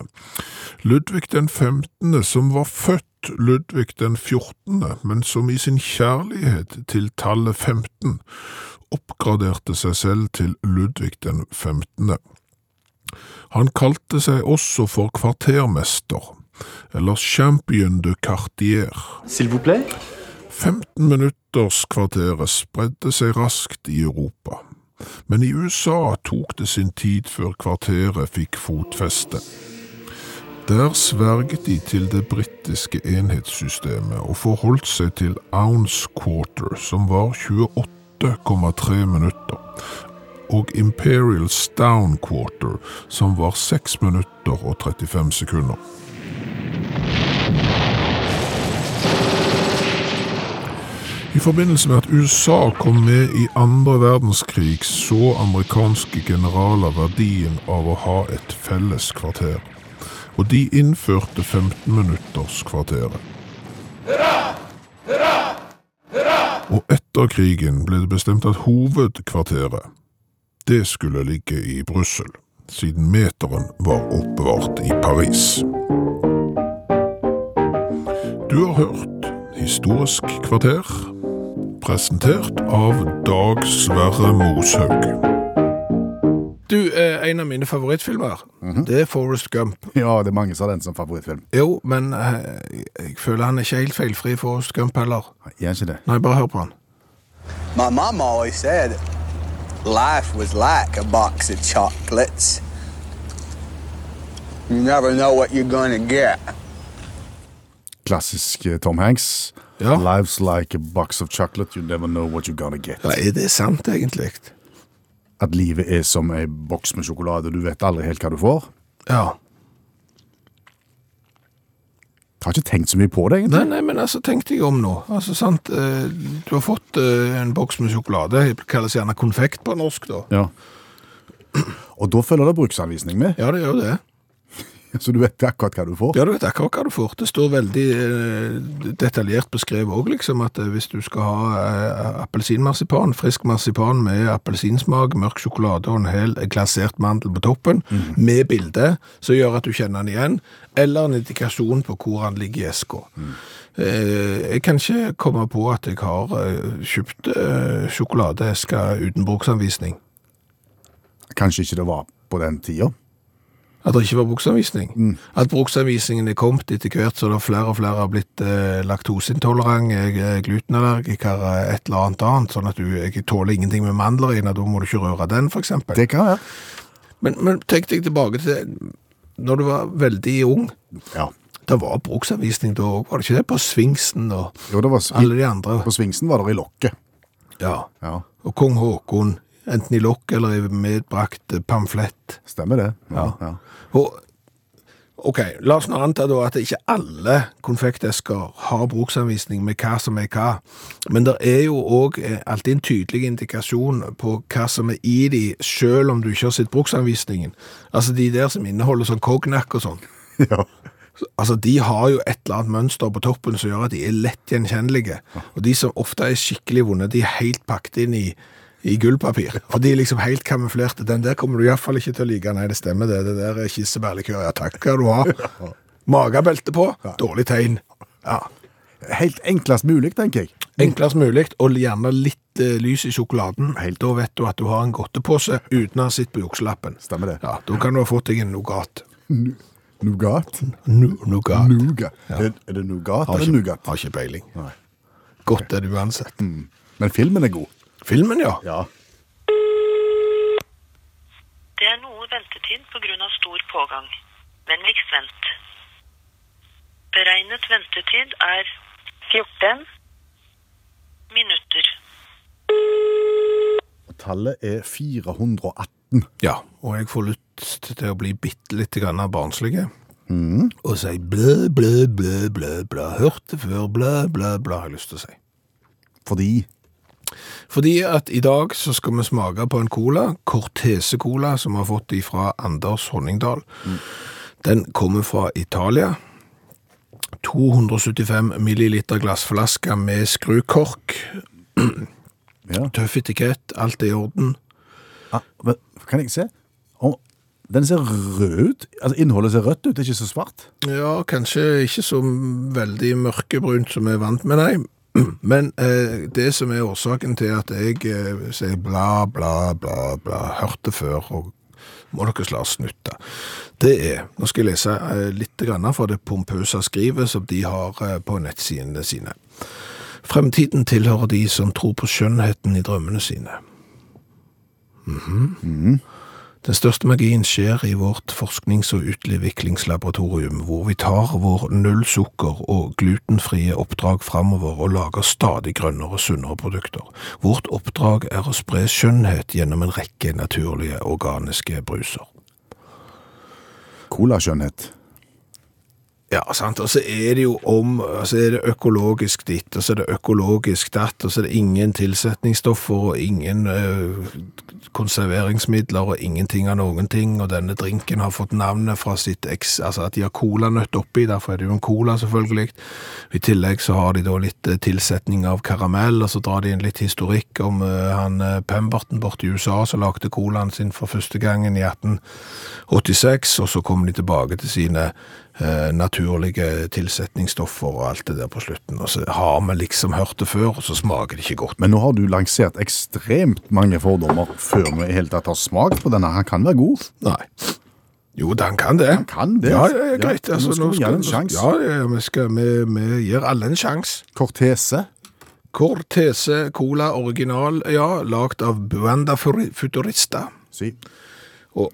F: Ludvig den 15., som var født Ludvig den 14., men som i sin kjærlighet til tallet 15 oppgraderte seg selv til Ludvig den 15. Han kalte seg også for kvartermester, eller champion de quartier.
G: S'il vous plaît
F: 15-minutterskvarteret spredde seg raskt i Europa, men i USA tok det sin tid før kvarteret fikk fotfeste. Der sverget de til det britiske enhetssystemet og forholdt seg til ounce quarter, som var 28,3 minutter, og imperial stown quarter, som var 6 minutter og 35 sekunder. I forbindelse med at USA kom med i andre verdenskrig, så amerikanske generaler verdien av å ha et felles kvarter. Og de innførte 15-minutterskvarteret. Og etter krigen ble det bestemt at hovedkvarteret, det skulle ligge i Brussel, siden meteren var oppbevart i Paris. Du har hørt Historisk kvarter, presentert av Dag Sverre Moshaug.
B: Du, eh, en av mine favorittfilmer, det er Forrest Gump.
C: Ja, det er mange som har den som favorittfilm.
B: Jo, men eh, jeg- jeg føler han er ikke helt feilfri, Forrest Gump heller.
C: Er ikke det?
B: Nei, bare hør på han.
H: My mom always said life was like a box of chocolates. You never know what you're gonna get.
C: Klassisk eh, Tom Hanks.
B: Ja.
C: Lives like a box of chocolate, you never know what you're gonna get.
B: Ja, er det sant, egentlig?
C: At livet er som ei boks med sjokolade, du vet aldri helt hva du får.
B: Ja.
C: Jeg har ikke tenkt så mye på det, egentlig.
B: Nei, nei, men altså, tenk deg om nå. Altså, sant, eh, du har fått eh, en boks med sjokolade, det kalles gjerne konfekt på norsk, da.
C: Ja. Og da følger det bruksanvisning med,
B: Ja, det gjør jo det.
C: så du vet akkurat hva du får.
B: Ja, du vet akkurat hva du får. Det står veldig eh, detaljert beskrevet òg, liksom, at eh, hvis du skal ha eh, appelsinmarsipan, frisk marsipan med appelsinsmak, mørk sjokolade og en hel glasert mandel på toppen, med bilde som gjør at du kjenner den igjen, eller en indikasjon på hvor han ligger i eska. Eh, Jeg kan ikke komme på at jeg har eh, kjøpt eh, sjokoladeesker uten bruksanvisning.
C: Kanskje ikke det var på den tida.
B: At det ikke var bruksanvisning. At bruksanvisningen er kommet etter hvert, så det er flere og flere har blitt eh, laktoseintolerant, jeg er glutenallergiker, eh, et eller annet annet, sånn at du jeg tåler ingenting med mandler i, og da må du ikke røre den, for eksempel.
C: Det kan være.
B: Men, men tenk deg tilbake til når du var veldig ung.
C: Ja.
B: Det var bruksanvisning da òg, var det ikke det? På Svingsen og
C: Jo, det var svi-
B: alle de andre.
C: På svingsen var det i lokket.
B: Ja.
C: Ja,
B: Og kong Haakon, enten i lokk eller i medbrakt eh, pamflett.
C: stemmer det. Ja,
B: Ja.
C: ja.
B: Og, ok, la oss nå anta da at ikke alle konfektesker har bruksanvisning med hva som er hva, men det er jo òg alltid en tydelig indikasjon på hva som er i de, selv om du ikke har sett bruksanvisningen. Altså de der som inneholder sånn cognac og sånn.
C: ja.
B: Altså, De har jo et eller annet mønster på toppen som gjør at de er lett gjenkjennelige. Og de som ofte er skikkelig vonde, de er helt pakket inn i, i gullpapir. Og de er liksom helt kamuflerte. Den der kommer du iallfall ikke til å like. Nei, det stemmer, det. Det der er kirsebærlikør. Ja takk, hva du har. Magebelte på. Dårlig tegn. Ja.
C: Helt enklest mulig, tenker jeg.
B: Enklest mulig, og gjerne litt eh, lys i sjokoladen. Helt da vet du at du har en godtepose uten å ha sett på jukselappen.
C: Stemmer det.
B: Ja, Da kan du ha fått deg en Nougat.
C: Nougat.
B: Nu- Nougat.
C: Nougat. Er, er det nougat
B: Har
C: eller
B: ikke,
C: nougat?
B: har ikke peiling.
C: Nei.
B: Godt er det uansett.
C: Men filmen er god.
B: Filmen, ja.
C: Ja.
I: Det er noe ventetid pga. stor pågang. Vennligst vent. Beregnet ventetid er 14 minutter.
C: Tallet er 418.
B: Ja, og jeg får lyst til å bli bitte litt grann barnslig. Og si blø, blø, blø, blø, blø. Hørt det før, blø, blø, blø, har jeg lyst til å si.
C: Fordi
B: Fordi at i dag så skal vi smake på en cola, Cortese Cola, som vi har fått ifra Anders Honningdal. Den kommer fra Italia. 275 milliliter glassflaske med skrukork.
C: Ja.
B: Tøff etikett, alt er i orden.
C: ah, men, Kan jeg se? Om- den ser rød ut. Altså, innholdet ser rødt ut, ikke så svart.
B: Ja, kanskje ikke så veldig mørkebrunt som jeg er vant med, nei. Men eh, det som er årsaken til at jeg eh, sier bla, bla, bla, bla, hørte før, og må dere la oss snutte, det er, nå skal jeg lese eh, litt grann fra det pompøse skrivet som de har eh, på nettsidene sine. Fremtiden tilhører de som tror på skjønnheten i drømmene sine. Den største magien skjer i vårt forsknings- og utviklingslaboratorium, hvor vi tar vår nullsukker- og glutenfrie oppdrag framover og lager stadig grønnere og sunnere produkter. Vårt oppdrag er å spre skjønnhet gjennom en rekke naturlige organiske bruser.
C: Colaskjønnhet.
B: Ja, sant. Og så er det jo om og Så er det økologisk ditt, og så er det økologisk datt, og så er det ingen tilsetningsstoffer og ingen eh, konserveringsmidler og ingenting av noen ting, og denne drinken har fått navnet fra sitt eks... Altså at de har colanøtt oppi, derfor er det jo en cola, selvfølgelig. I tillegg så har de da litt eh, tilsetning av karamell, og så drar de inn litt historikk om eh, han eh, Pemberton borte i USA som lagde colaen sin for første gangen i 1886, og så kom de tilbake til sine eh, naturlige tilsetningsstoffer og alt det der på slutten, og så har vi liksom hørt det før, og så smaker det ikke godt.
C: Men nå har du lansert ekstremt mange fordommer før vi i hele tatt har smakt på denne. Han kan være god.
B: Nei. Jo, den kan det. Han
C: kan det.
B: Ja, ja, ja, greit.
C: Ja,
B: altså,
C: nå skal vi gi den en sjanse.
B: Ja, ja, ja, vi, skal, vi, vi gir alle en sjanse.
C: Cortese.
B: Cortese Cola Original, ja, lagd av Buanda Furi- Futurista.
C: Si.
B: Og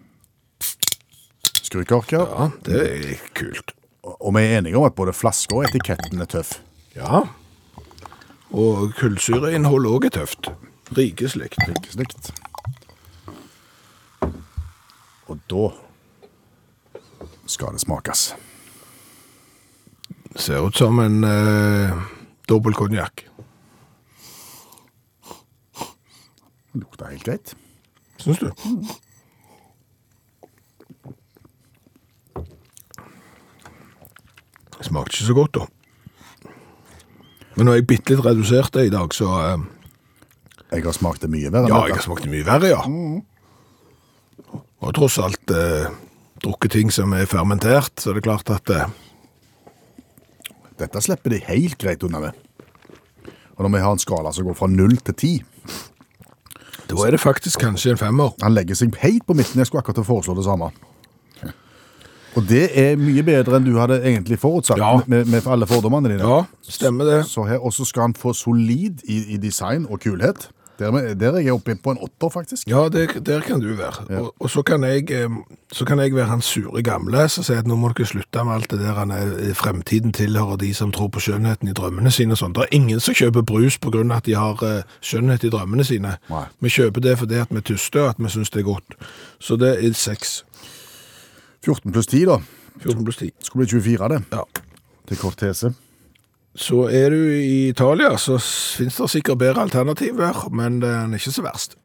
C: Skrukorker.
B: ja, det er kult.
C: Og vi er enige om at både flaske og etiketten er tøff.
B: Ja. Og kullsyreinnhold òg er tøft. Rikeslikt.
C: Ikke slikt. Og da skal det smakes.
B: Ser ut som en eh, dobbel konjakk.
C: Det lukter helt greit.
B: Syns du? Det smakte ikke så godt, da. Men nå er jeg bitte litt redusert det i dag, så eh,
C: Jeg har smakt det mye verre. enn
B: Ja,
C: dette.
B: jeg har smakt det mye verre, ja. Og tross alt eh, drukket ting som er fermentert, så er det klart at eh,
C: Dette slipper de helt greit unna med. Og når vi har en skala som går fra null til ti
B: da er det faktisk kanskje en femmer.
C: Han legger seg helt på midten. Jeg skulle akkurat til å foreslå det samme. Og det er mye bedre enn du hadde egentlig forutsatt
B: Ja.
C: med, med alle fordommene dine.
B: Ja, stemmer det.
C: Så her også skal han få solid i, i design og kulhet. Der, der er jeg oppe på en åtter, faktisk.
B: Ja, det, der kan du være. Og, og så, kan jeg, eh, så kan jeg være han sure gamle som sier at nå må dere slutte med alt det der han er, fremtiden tilhører de som tror på skjønnheten i drømmene sine og sånn. Det er ingen som kjøper brus på grunn av at de har eh, skjønnhet i drømmene sine.
C: Nei.
B: Vi kjøper det fordi at vi tuster, at vi syns det er godt. Så det er seks.
C: 14 pluss 10, da.
B: 14 pluss 10.
C: Skulle bli 24, det.
B: Ja.
C: Til Cortese.
B: Så er du i Italia, så finnes det sikkert bedre alternativer, men den er ikke så verst.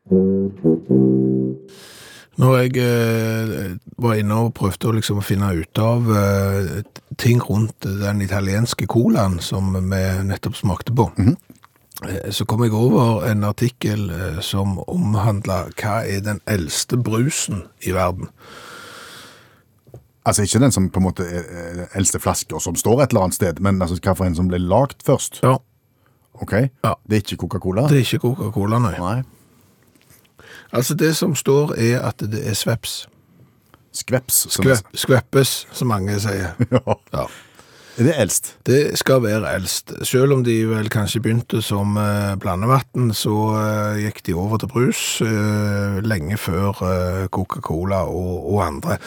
B: Når jeg eh, var inne og prøvde å liksom finne ut av eh, ting rundt den italienske colaen som vi nettopp smakte på, eh, så kom jeg over en artikkel eh, som omhandla hva er den eldste brusen i verden.
C: Altså ikke den som på en måte er er den eldste flaske og som står et eller annet sted, men altså, hva for en som ble lagd først.
B: Ja.
C: Ok?
B: Ja.
C: Det er ikke Coca-Cola?
B: Det er ikke Coca-Cola, nei.
C: Nei.
B: Altså, det som står, er at det er sveps.
C: Skveps. som det-
B: Skve- Skveppes, som mange sier.
C: Ja.
B: Ja.
C: Er det eldst?
B: Det skal være eldst. Selv om de vel kanskje begynte som eh, blandevann, så eh, gikk de over til brus eh, lenge før eh, Coca-Cola og, og andre.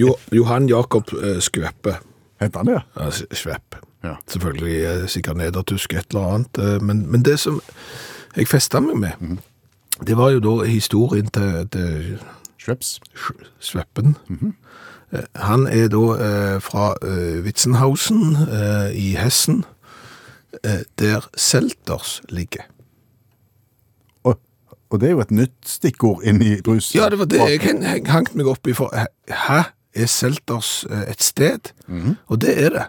B: jo, Johan Jakob eh, Skveppe.
C: Henter han det?
B: Ja, S- Svepp.
C: Ja.
B: Selvfølgelig eh, sikkert nedertysk et eller annet. eh, Men, men det som jeg festa meg med, det var jo da historien til, til
C: Schweppes.
B: Sch- Sveppen. Eh, Han er da eh, fra eh, Witzenhausen eh, i Hessen, eh, der Selters ligger.
C: Og, og det er jo et nytt stikkord inn i brus.
B: Ja, det var det jeg hen- hen- hengte meg opp i. For eh, hæ, er Selters eh, et sted? Og det er det.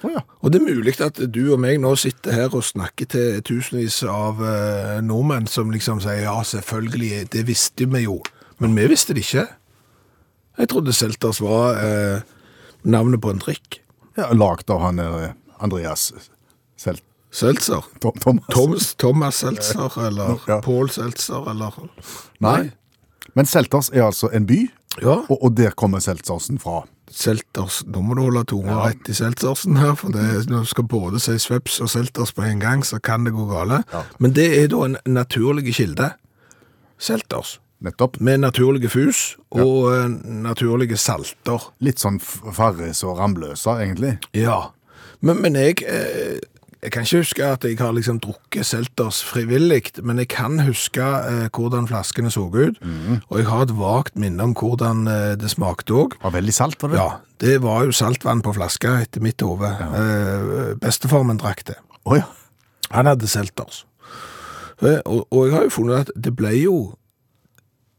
C: Å ja.
B: Og det er mulig at du og meg nå sitter her og snakker til tusenvis av eh, nordmenn som liksom sier ja, selvfølgelig, det visste vi jo. Men vi visste det ikke. Jeg trodde Selters var eh, navnet på en drikk.
C: ja Lagd av han eh, Andreas selv.
B: Seltzer.
C: Tom, Thomas.
B: Thomas, Thomas Seltzer, eller
C: Altså- Ja.
B: Paul Seltzer, eller
C: Nei. Men Selters er altså en by,
B: Ja.
C: og, og der kommer Seltzersen fra.
B: Selters. Nå må du holde tunga rett i Seltzersen her, for det, når du skal både si Sveps og Selters på en gang, så kan det gå gale. Men det er da en naturlig kilde. Selters.
C: Nettopp.
B: med naturlige fus og eh, naturlige salter.
C: Litt sånn f- Farris og Ramløsa, egentlig.
B: Ja. Men, men jeg, eh, jeg kan ikke huske at jeg har liksom drukket Selters frivillig, men jeg kan huske eh, hvordan flaskene så ut, og jeg har et vagt minne om hvordan eh, det smakte òg.
C: Var veldig salt, var det?
B: Ja, det var jo saltvann på flaska etter mitt hode. Eh, bestefar min drakk det.
C: Å ja.
B: Han hadde Selters. Eh, Og, og jeg har jo funnet at det ble jo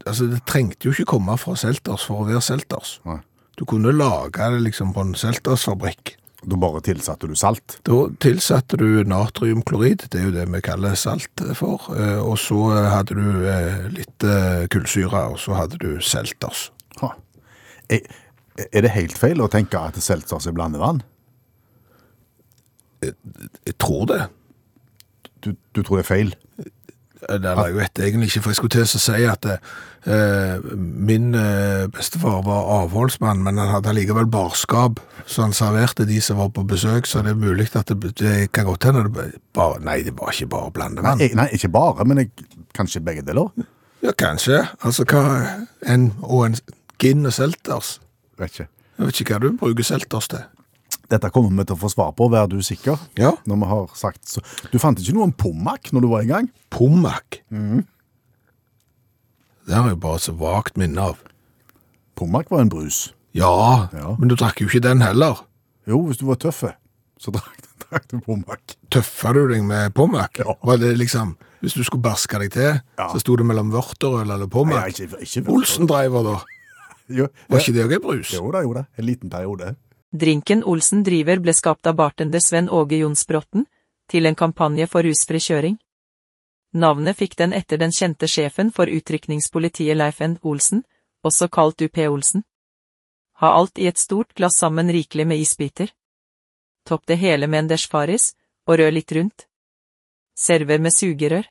B: Altså, det trengte jo ikke komme fra Selters for å være Selters.
C: Nei.
B: Du kunne lage det liksom på en Selters-fabrikk.
C: Da bare tilsatte du salt.
B: Da tilsatte du natriumklorid, det er jo det vi kaller salt for, eh, og så eh, hadde du eh, litt eh, kullsyre, og så hadde du Selters.
C: Ha. Er, er det helt feil å tenke at selters er blandevann?
B: Jeg tror det.
C: Du, du tror det er feil?
B: Eller jeg vet egentlig ikke, for jeg skulle til å si at eh, min eh, bestefar var avholdsmann, men han hadde likevel barskap, så han serverte de som var på besøk, så det er mulig at det, det kan godt hende det ble bare Nei, det var ikke bare blandevann.
C: Jeg, E, nei, ikke bare, men jeg, kanskje begge deler?
B: Ja, kanskje. Altså, hva en, Og en gin og selters.
C: Vet ikke.
B: Jeg vet ikke hva du bruker selters til.
C: Dette kommer vi til å få svar på, vær du sikker.
B: Ja.
C: Når vi har sagt så. Du fant ikke noe om pommak når du var i gang?
B: Pommac.
C: Mm.
B: Det har jeg bare så vagt minne av.
C: Pommak var en brus.
B: Ja,
C: Ja.
B: men du drakk jo ikke den heller.
C: Jo, hvis du var tøffe, så drakk, drakk du pommak.
B: Tøffa du deg med Pommac?
C: Ja.
B: Var det liksom, hvis du skulle barske deg til,
C: Ja.
B: så sto det mellom vørterøl eller
C: Nei,
B: Pommac?
C: ikke, ikke
B: Olsen-driver da,
C: Jo,
B: var ikke det også en brus?
C: Jo da, jo da. En liten periode.
J: Drinken Olsen driver ble skapt av bartender Sven Åge Jonsbråten, til en kampanje for rusfri kjøring. Navnet fikk den etter den kjente sjefen for utrykningspolitiet Leif N. Olsen, også kalt UP Olsen. Ha alt i et stort glass sammen rikelig med isbiter. Topp det hele med en desh faris, og rør litt rundt. Server med sugerør.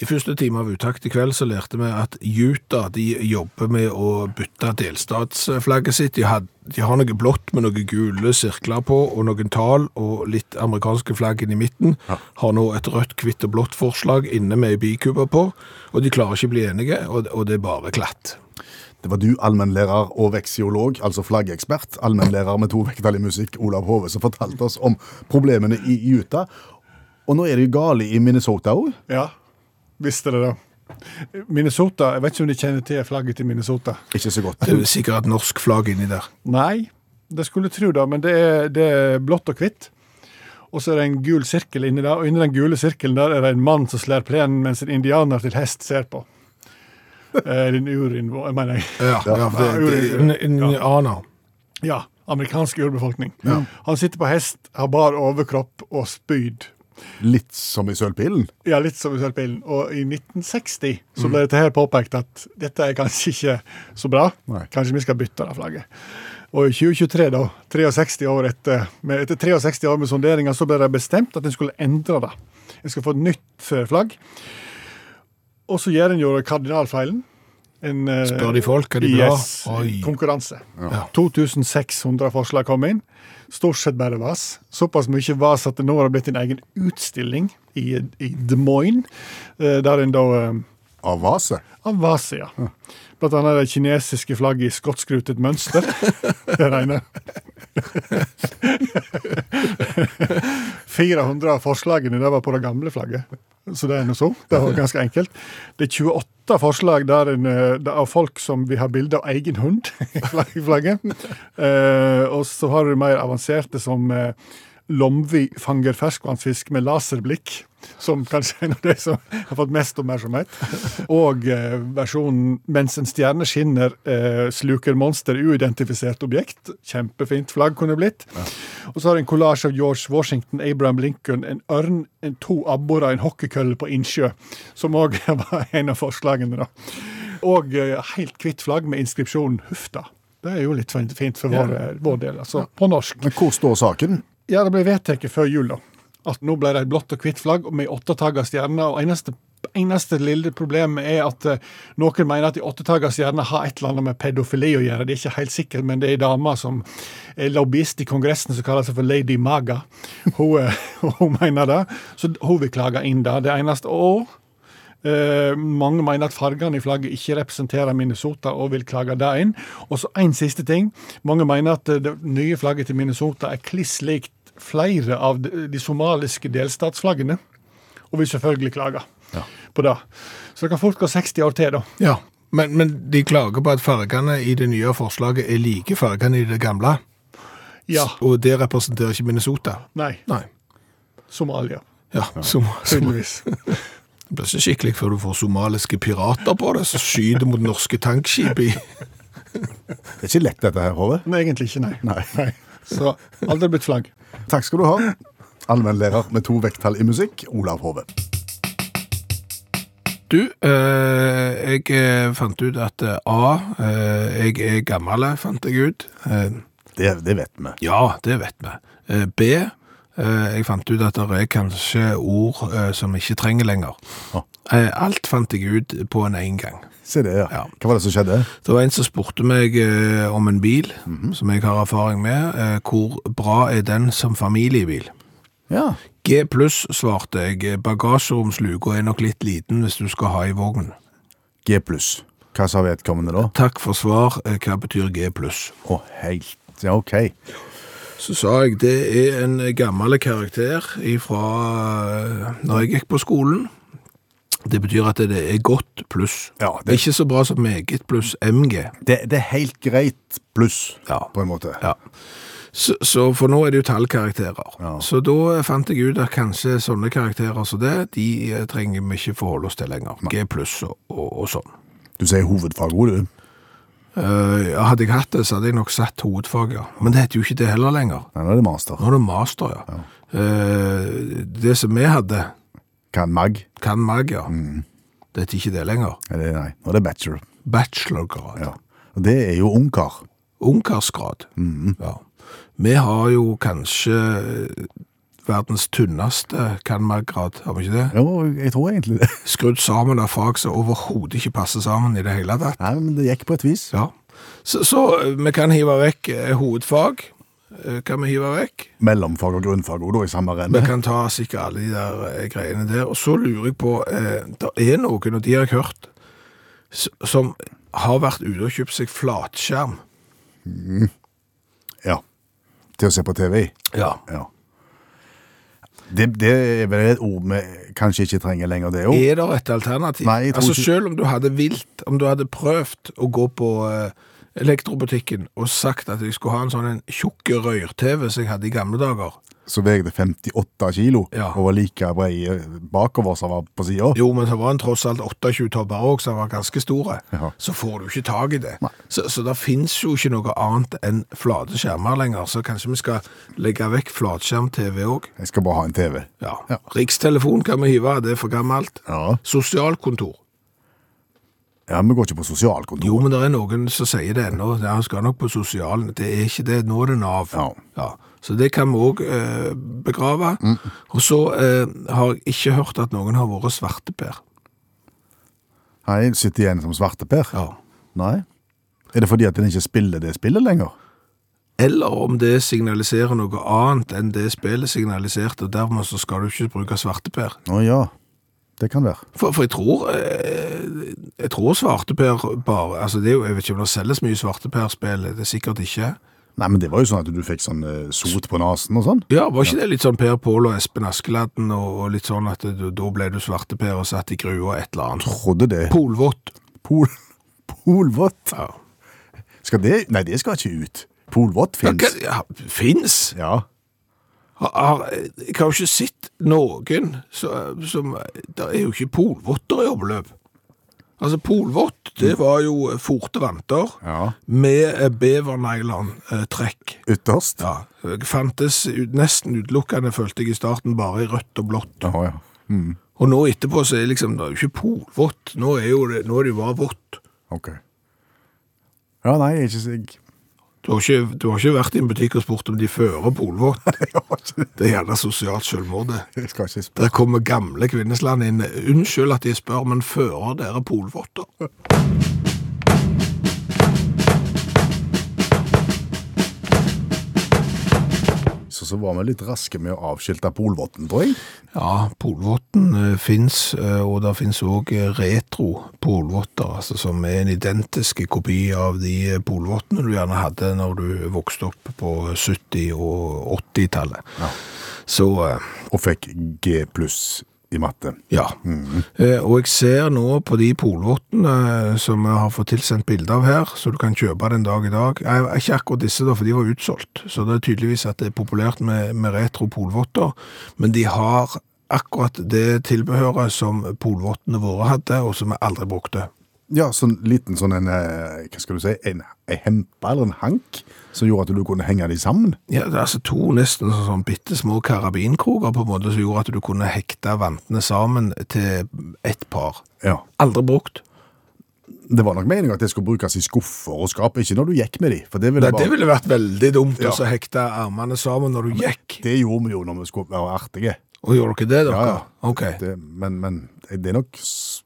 B: I første time av uttakt i kveld så lærte vi at Utah de jobber med å bytte delstatsflagget sitt. De, had, de har noe blått med noen gule sirkler på og noen tall og litt amerikanske flagg inn i midten. Har nå et rødt, hvitt og blått forslag inne med ei bikube på, og de klarer ikke å bli enige, og, og det er bare glatt.
C: Det var du, allmennlærer og veksiolog, altså flaggekspert, allmennlærer med to vekttall i musikk, Olav Hove, som fortalte oss om problemene i Utah. Og nå er det jo gale i Minnesota òg.
A: Ja, visste dere det. Minnesota, jeg vet ikke om de kjenner til flagget til Minnesota.
C: Ikke så godt.
B: Det er sikkert et norsk flagg inni der.
A: Nei, det skulle tro det, men det er, det er blått og hvitt. Og så er det en gul sirkel inni der, og inni den gule sirkelen der er det en mann som slår plenen mens en indianer til hest ser på. Eh, din urinnvå... Jeg mener,
B: Ja, ja, for det, det,
A: Ja.
B: det, ah, indianer.
A: ja, amerikansk urbefolkning. Han sitter på hest, har bar overkropp og spyd.
C: Litt som i Sølvpilen.
A: Ja, litt som i Sølvpilen. Og i 1960 så
B: Mm.
A: ble dette her påpekt at dette er kanskje ikke så bra.
C: Nei.
A: Kanskje vi skal bytte det flagget. Og i 2023, da, 63 år etter, med, etter 63 år med sonderinger, så ble det bestemt at en skulle endre det. En skulle få et nytt eh, flagg. Og så gjør en jo kardinalfeilen. En, eh,
B: Spør de folk hva de vil ha?
A: yes,
B: Oi.
A: konkurranse. 2600 forslag kom inn. Stort sett bare vas. Såpass mye vas at det nå har det blitt en egen utstilling i, i Des Moines, eh, der en da eh,
C: Av vase.
A: av vas, ja. Blant annet det kinesiske flagget i skotskrutet mønster. Det regner. 400 av forslagene det var på det gamle flagget. Så det er noe så. Det var ganske enkelt. Det er 28 forslag der en, eh, det er av folk som vil ha bilde av egen hund i flagg- i flagget. Eh, og så har du mer avanserte som eh, Lomvi fanger ferskvannsfisk med laserblikk, som kanskje er en av de som har fått mest oppmerksomhet. Og eh, versjonen 'Mens en stjerne skinner, eh, sluker monster uidentifisert objekt'. Kjempefint flagg kunne blitt. Og så har du en kollasj av George Washington, Abraham Lincoln, en ørn, en to abborer, en hockeykølle på innsjø, som òg var en av forslagene. da. Og eh, helt hvitt flagg med inskripsjonen 'Hufta'. Det er jo litt fint fint for vår, vår del, altså. På norsk.
C: Men hvor står saken?
A: Ja, det ble vedtatt før jul, da. At nå ble det et blått og hvitt flagg med åttetagga stjerner. Og eneste, eneste lille problemet er at eh, noen mener at de åttetagga stjernene har et eller annet med pedofili å gjøre. Det er ikke helt sikkert, men det er ei dame som er lobbyist i Kongressen som kaller seg for Lady Maga. Hun, eh, hun mener det. Så hun vil klage inn det. Det eneste Og Eh, mange mener at fargene i flagget ikke representerer Minnesota og vil klage det inn. Og så en siste ting. Mange mener at eh, det nye flagget til Minnesota er kliss likt flere av de de somaliske delstatsflaggene, og vil selvfølgelig klage på det. Så det kan fort gå 60 år til, da.
B: Ja, men, men de klager på at fargene i det nye forslaget er like fargene i det gamle.
A: Ja.
B: S- Og det representerer ikke Minnesota.
A: Nei.
B: Nei.
A: Somalia.
B: Ja, som, som,
A: Tydeligvis.
B: det blir ikke skikkelig før du får somaliske pirater på det, som skyter mot norske tankskip i
C: Det er ikke lett dette her, Håvard.
A: Nei, egentlig ikke, nei.
C: Nei.
A: Så aldri blitt flagg.
C: Takk skal du ha. Allmennlærer med to vekttall i musikk, Olav Hove.
B: Du, eh, jeg eh, fant ut at eh, A, eh, jeg er gammel, fant jeg ut. Eh,
C: Det, det vet vi.
B: ja, det vet vi. Eh, B, eh, jeg fant ut at det er kanskje ord eh, som vi ikke trenger lenger.
C: Ah.
B: Eh, alt fant jeg ut på en en gang.
C: Se det, ja.
B: Ja.
C: Hva var det som skjedde?
B: Det var en som spurte meg eh, om en bil, som jeg har erfaring med. Eh, hvor bra er den som familiebil?
C: Ja.
B: G pluss, svarte jeg. Bagasjeromsluka er nok litt liten hvis du skal ha i vognen.
C: G pluss. Hva sa vedkommende da?
B: Takk for svar. Eh, Hva betyr G pluss?
C: Å, helt. Ja, OK.
B: Så sa jeg det er en gammel karakter fra når jeg gikk på skolen. Det betyr at det er godt pluss.
C: Ja,
B: Det er
C: det,
B: ikke så bra som meget pluss MG.
C: det, det er helt greit pluss,
B: Ja.
C: på en måte.
B: Ja. Så, så for nå er det jo tallkarakterer.
C: Ja.
B: Så da fant jeg ut at kanskje sånne karakterer som det, de eh, trenger vi ikke forholde oss til lenger. G pluss og, og, og sånn.
C: Du sier hovedfagord, du.
B: Eh, ja, hadde jeg hatt det, så hadde jeg nok satt hovedfag, ja. Men det heter jo ikke det heller lenger.
C: Nei, nå er det master.
B: Nå er det master, ja. Eh, det som vi hadde,
C: Hva er mag?
B: kan mag, ja.
C: Mm.
B: Det heter ikke det lenger.
C: Er det, nei, nå er det bachelor.
B: Bachelorgrad.
C: Ja. Og det er jo ungkar.
B: Ungkarsgrad.
C: Mm.
B: Ja. Vi har jo kanskje eh, verdens tynneste kan mag-grad, har vi ikke det?
C: Jo, jeg tror egentlig det.
B: skrudd sammen av fag som overhodet ikke passer sammen i det hele tatt.
C: Nei, men det gikk på et vis.
B: Ja. Så, så eh, vi kan hive vekk eh, hovedfag. eh, Kan vi hive vekk?
C: Mellomfag og grunnfagord da, i samme
B: Vi
C: renne.
B: kan ta sikkert alle de der eh, greiene der. Og så lurer jeg på eh, Det er noen, og de har jeg hørt, s- som har vært ute og kjøpt seg flatskjerm.
C: Ja. Til å se på TV i.
B: Ja.
C: Ja. Det, det er vel et ord vi kanskje ikke trenger lenger, det òg.
B: Er det et alternativ?
C: Nei, jeg tror
B: altså
C: ikke-
B: Selv om du hadde vilt, om du hadde prøvd å gå på eh, elektrobutikken og sagt at jeg skulle ha en sånn en tjukk rør-TV som jeg hadde i gamle dager
C: Så veide 58 kilo
B: Ja.
C: og var like brei eh, bakover som var på sida.
B: Jo, men så var han tross alt 28 tobber òg, så han var ganske store.
C: Ja.
B: Så får du ikke tak i det. Så, så det fins jo ikke noe annet enn flate skjermer lenger, så kanskje vi skal legge vekk flatskjerm-TV òg.
C: Jeg skal bare ha en TV.
B: Ja.
C: Ja.
B: Rikstelefon kan vi hive, det er for gammelt.
C: Ja,
B: Sosialkontor.
C: ja Vi går ikke på sosialkontor.
B: Jo, men det er noen som sier det ennå. Ja, han skal nok på sosialen. Det er ikke det. Nå er det Nav.
C: Ja.
B: Så det kan vi òg eh, begrave.
C: Mm.
B: Og så eh, har jeg ikke hørt at noen har vært svarteper.
C: Nei, sitter igjen som svarteper?
B: Ja.
C: Nei. Er det fordi at en ikke spiller det spillet lenger?
B: eller om det signaliserer noe annet enn det spillet signaliserte, og dermed så skal du ikke bruke svarteper.
C: Å ja, det kan være.
B: For, for jeg tror, eh, jeg tror svarteper bare, altså det er jo, jeg vet ikke om det selges mye svarteperspill, det er sikkert ikke.
C: Nei, men det var jo sånn at du fikk sånn eh, sot på nesen og sånn.
B: Ja, var ikke det litt sånn Per Pål og Espen Askeladden, og, og litt sånn at du, da ble du svarteper og satt i grua et eller annet.
C: Trodde det.
B: Polvått.
C: Pol... Polvott?
B: Ja.
C: Skal det Nei, det skal ikke ut. Polvott
B: Ja,
C: fins.
B: hva- ja, finnes?
C: Ja.
B: Har, har, jeg har jo ikke sett noen som, som Det er jo ikke polvotter i omløp. Altså, polvott, det var jo eh, forte vanter
C: Mm. Ja.
B: med eh, bevernylan-trekk.
C: Ytterst.
B: Ja, jeg Eh, fantes ut, nesten utelukkende, følte jeg i starten, bare i rødt og blått.
C: Å, ja. Mm.
B: Og nå etterpå så er liksom, det er jo ikke polvott, nå er, jo det, nå er det jo bare vått.
C: Ok. Ja, nei, jeg er ikke sig...
B: Du har, ikke, du har ikke vært i en butikk og spurt om de fører polvott.
C: Jeg har ikke
B: Det er gjerne sosialt selvmord, det.
C: Jeg skal ikke spørre.
B: Der kommer gamle kvinnesland inn. Unnskyld at jeg spør, men fører dere polvotter?
C: Så så var vi litt raske med å avskilte Polvotten, tror jeg.
B: Ja, polvotten eh, finnes, eh, og det finnes også eh, retro polvotter, altså som er en identiske kopi av de eh, polvottene du gjerne hadde når du vokste opp på 70- og 80-tallet. Så, eh,
C: Og fikk G pluss i matte.
B: ja. Eh, Og jeg ser nå på de polvottene som jeg har fått tilsendt bilde av her, så du kan kjøpe den dag i dag. Eh, Ikke akkurat disse da, for de var utsolgt, så det er tydeligvis at det er populært med, med retro polvotter, men de har akkurat det tilbehøret som polvottene våre hadde, og som vi aldri brukte.
C: Ja, sånn liten sånn en eh, Hva skal du si? En, en hempe eller en hank som gjorde at du kunne henge de sammen.
B: Ja, det er altså to nesten sånn, sånn bitte små karabinkroger på en måte som gjorde at du kunne hekte vantene sammen til ett par.
C: Ja.
B: Aldri brukt.
C: Det var nok meningen at det skulle brukes i skuffer og skap, ikke når du gikk med de. For det ville,
B: Nei, det
C: bare-
B: ville vært veldig dumt
C: Ja.
B: å så hekte armene sammen når du gikk.
C: det gjorde vi jo når vi skulle være artige.
B: Og gjorde dere det, dere?
C: Ja, ja.
B: Ok.
C: Det, men, men det er nok s-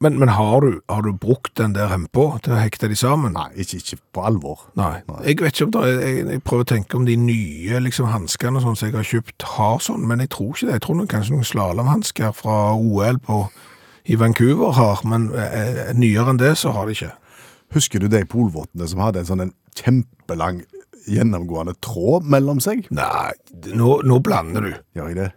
B: Men, men har, du, har du brukt den der hempa til å hekte de sammen?
C: Nei, ikke, ikke på alvor.
B: Nei. Jeg vet ikke om det er, jeg, jeg prøver å tenke om de nye liksom, hanskene sånn, som jeg har kjøpt, har sånn, men jeg tror ikke det. Jeg tror noen, kanskje noen slalåmhansker fra OL på, i Vancouver har, men eh, eh, nyere enn det så har de ikke.
C: Husker du de polvottene som hadde en sånn en kjempelang gjennomgående tråd mellom seg?
B: Nei, nå, nå blander du.
C: Gjør jeg det?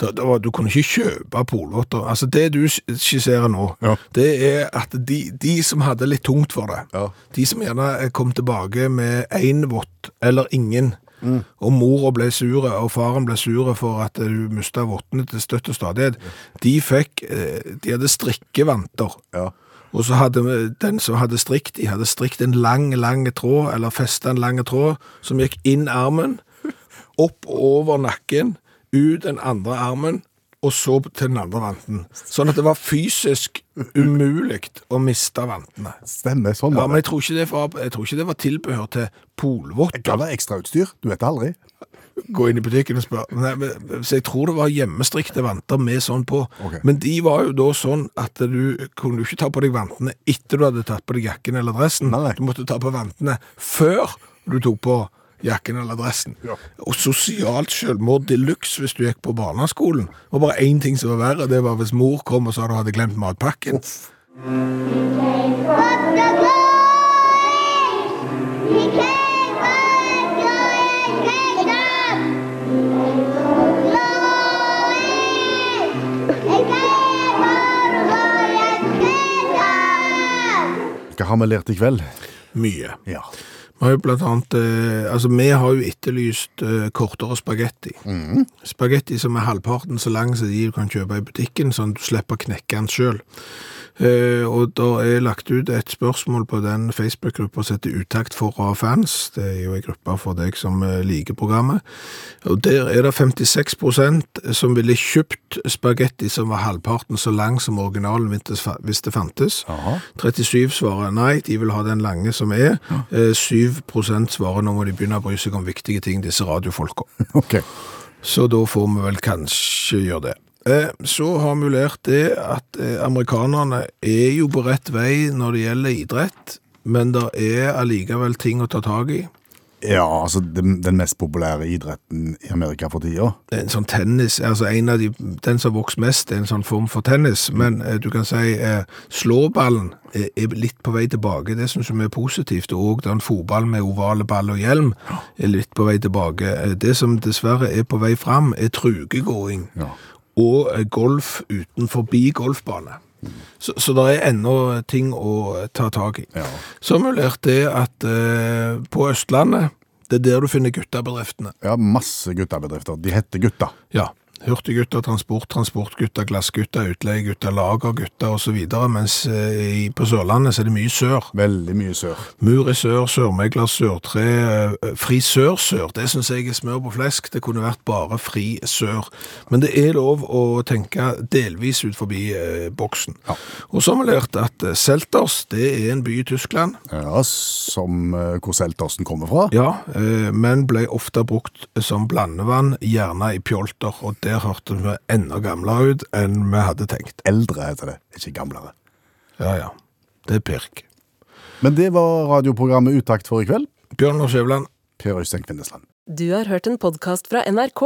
B: Da, da, var- du kunne ikke kjøpe polvotter. Altså, det du sk- skisserer nå,
C: Ja.
B: det er at de, de som hadde litt tungt for det,
C: Ja.
B: de som gjerne eh, kom tilbake med én vott eller ingen,
C: Mm.
B: og mora ble sure, og faren ble sure for at eh, hun mista vottene til støtt og stadighet, de fikk eh, De hadde strikkevanter.
C: Ja.
B: Og så hadde vi- den som hadde strikt, de hadde strikt en lang, lang tråd, eller festet en lang tråd, som gikk inn armen, opp over nakken, ut den andre armen, og så til den andre vanten. Sånn at det var fysisk umulig å miste vantene.
C: Stemmer, sånn
B: Ja,
C: var
B: men
C: det.
B: jeg tror ikke det var, jeg tror ikke det var tilbehør til polvott.
C: Kan være ekstrautstyr, du vet det aldri.
B: Gå inn i butikken og spør. Nei, men, så jeg tror det var hjemmestrikte vanter med sånn på.
C: Ok.
B: Men de var jo da sånn at du kunne jo ikke ta på deg vantene etter du hadde tatt på deg jakken eller dressen.
C: Nei, nei.
B: Du måtte ta på vantene før du tok på jakken eller dressen. Og sosialt selvmord de luxe hvis du gikk på barneskolen. Det var bare én ting som var verre, det var hvis mor kom og sa du hadde glemt matpakken.
D: Up the glory! He came by glory kingdom! Glory! He came by glory kingdom!
C: Hva har vi lært i kveld?
B: Mye.
C: Ja.
B: Vi har jo blant annet, eh, altså vi har jo etterlyst eh, kortere spagetti. Spagetti som er halvparten så lang som de du kan kjøpe i butikken, sånn at du slipper å knekke den selv. Eh, og da er lagt ut et spørsmål på den Facebook-gruppa som heter Utakt for av fans. Det er jo en gruppe for deg som eh, liker programmet. Og der er det 56 som ville kjøpt spagetti som var halvparten så lang som originalen hvis det fa- hvis det fantes. 37 svarer nei, de vil ha den lange som er. Eh, 7 svarer nå må de begynne å bry seg om viktige ting, disse radiofolka.
C: Ok.
B: Så da får vi vel kanskje gjøre det. Eh, Så har vi lært det at eh, amerikanerne er jo på rett vei når det gjelder idrett, men det er allikevel ting å ta tak i.
C: Ja, altså den, den mest populære idretten i Amerika for tida.
B: Det er En sånn tennis, altså en av de, den som vokser mest, er en sånn form for tennis, men eh, du kan si eh, slåballen er, er litt på vei tilbake, det synes vi er positivt, og den fotball med ovale ball og hjelm er litt på vei tilbake. Eh, Det som dessverre er på vei frem er trugegåing.
C: Ja.
B: og eh, golf utenfor golfbane. Så, så det er ennå ting å eh, ta tak i.
C: Ja.
B: Så har vi lært det at eh, på Østlandet, det er der du finner guttabedriftene.
C: Ja, masse guttabedrifter. De heter gutta.
B: Ja, hurtiggutter, transport, transportgutter, glassgutter, utleiegutter, lagergutter osv. Mens eh, i- på Sørlandet så er det mye sør.
C: Veldig mye sør.
B: Mur i sør, sørmegler, sørtre, eh, frisør-sør. Det syns jeg er smør på flesk. Det kunne vært bare fri sør. Men det er lov å tenke delvis ut forbi eh, boksen. Og så har vi lært at eh, Selters det er en by i Tyskland,
C: Ja, som eh, hvor Seltorsen kommer fra.
B: ja, eh, men ble ofte brukt som blandevann, gjerne i pjolter. Og der hørte vi enda gamlere ut enn vi hadde tenkt.
C: Eldre heter det, ikke gamlere.
B: Ja, ja. Det er pirk.
C: Men det var radioprogrammet Utakt for i kveld.
B: Bjørn og Skjævland,
C: Per Øystein Kvindesland.
K: Du har hørt en podkast fra NRK.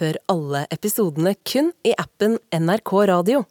K: Hør alle episodene kun i appen NRK Radio.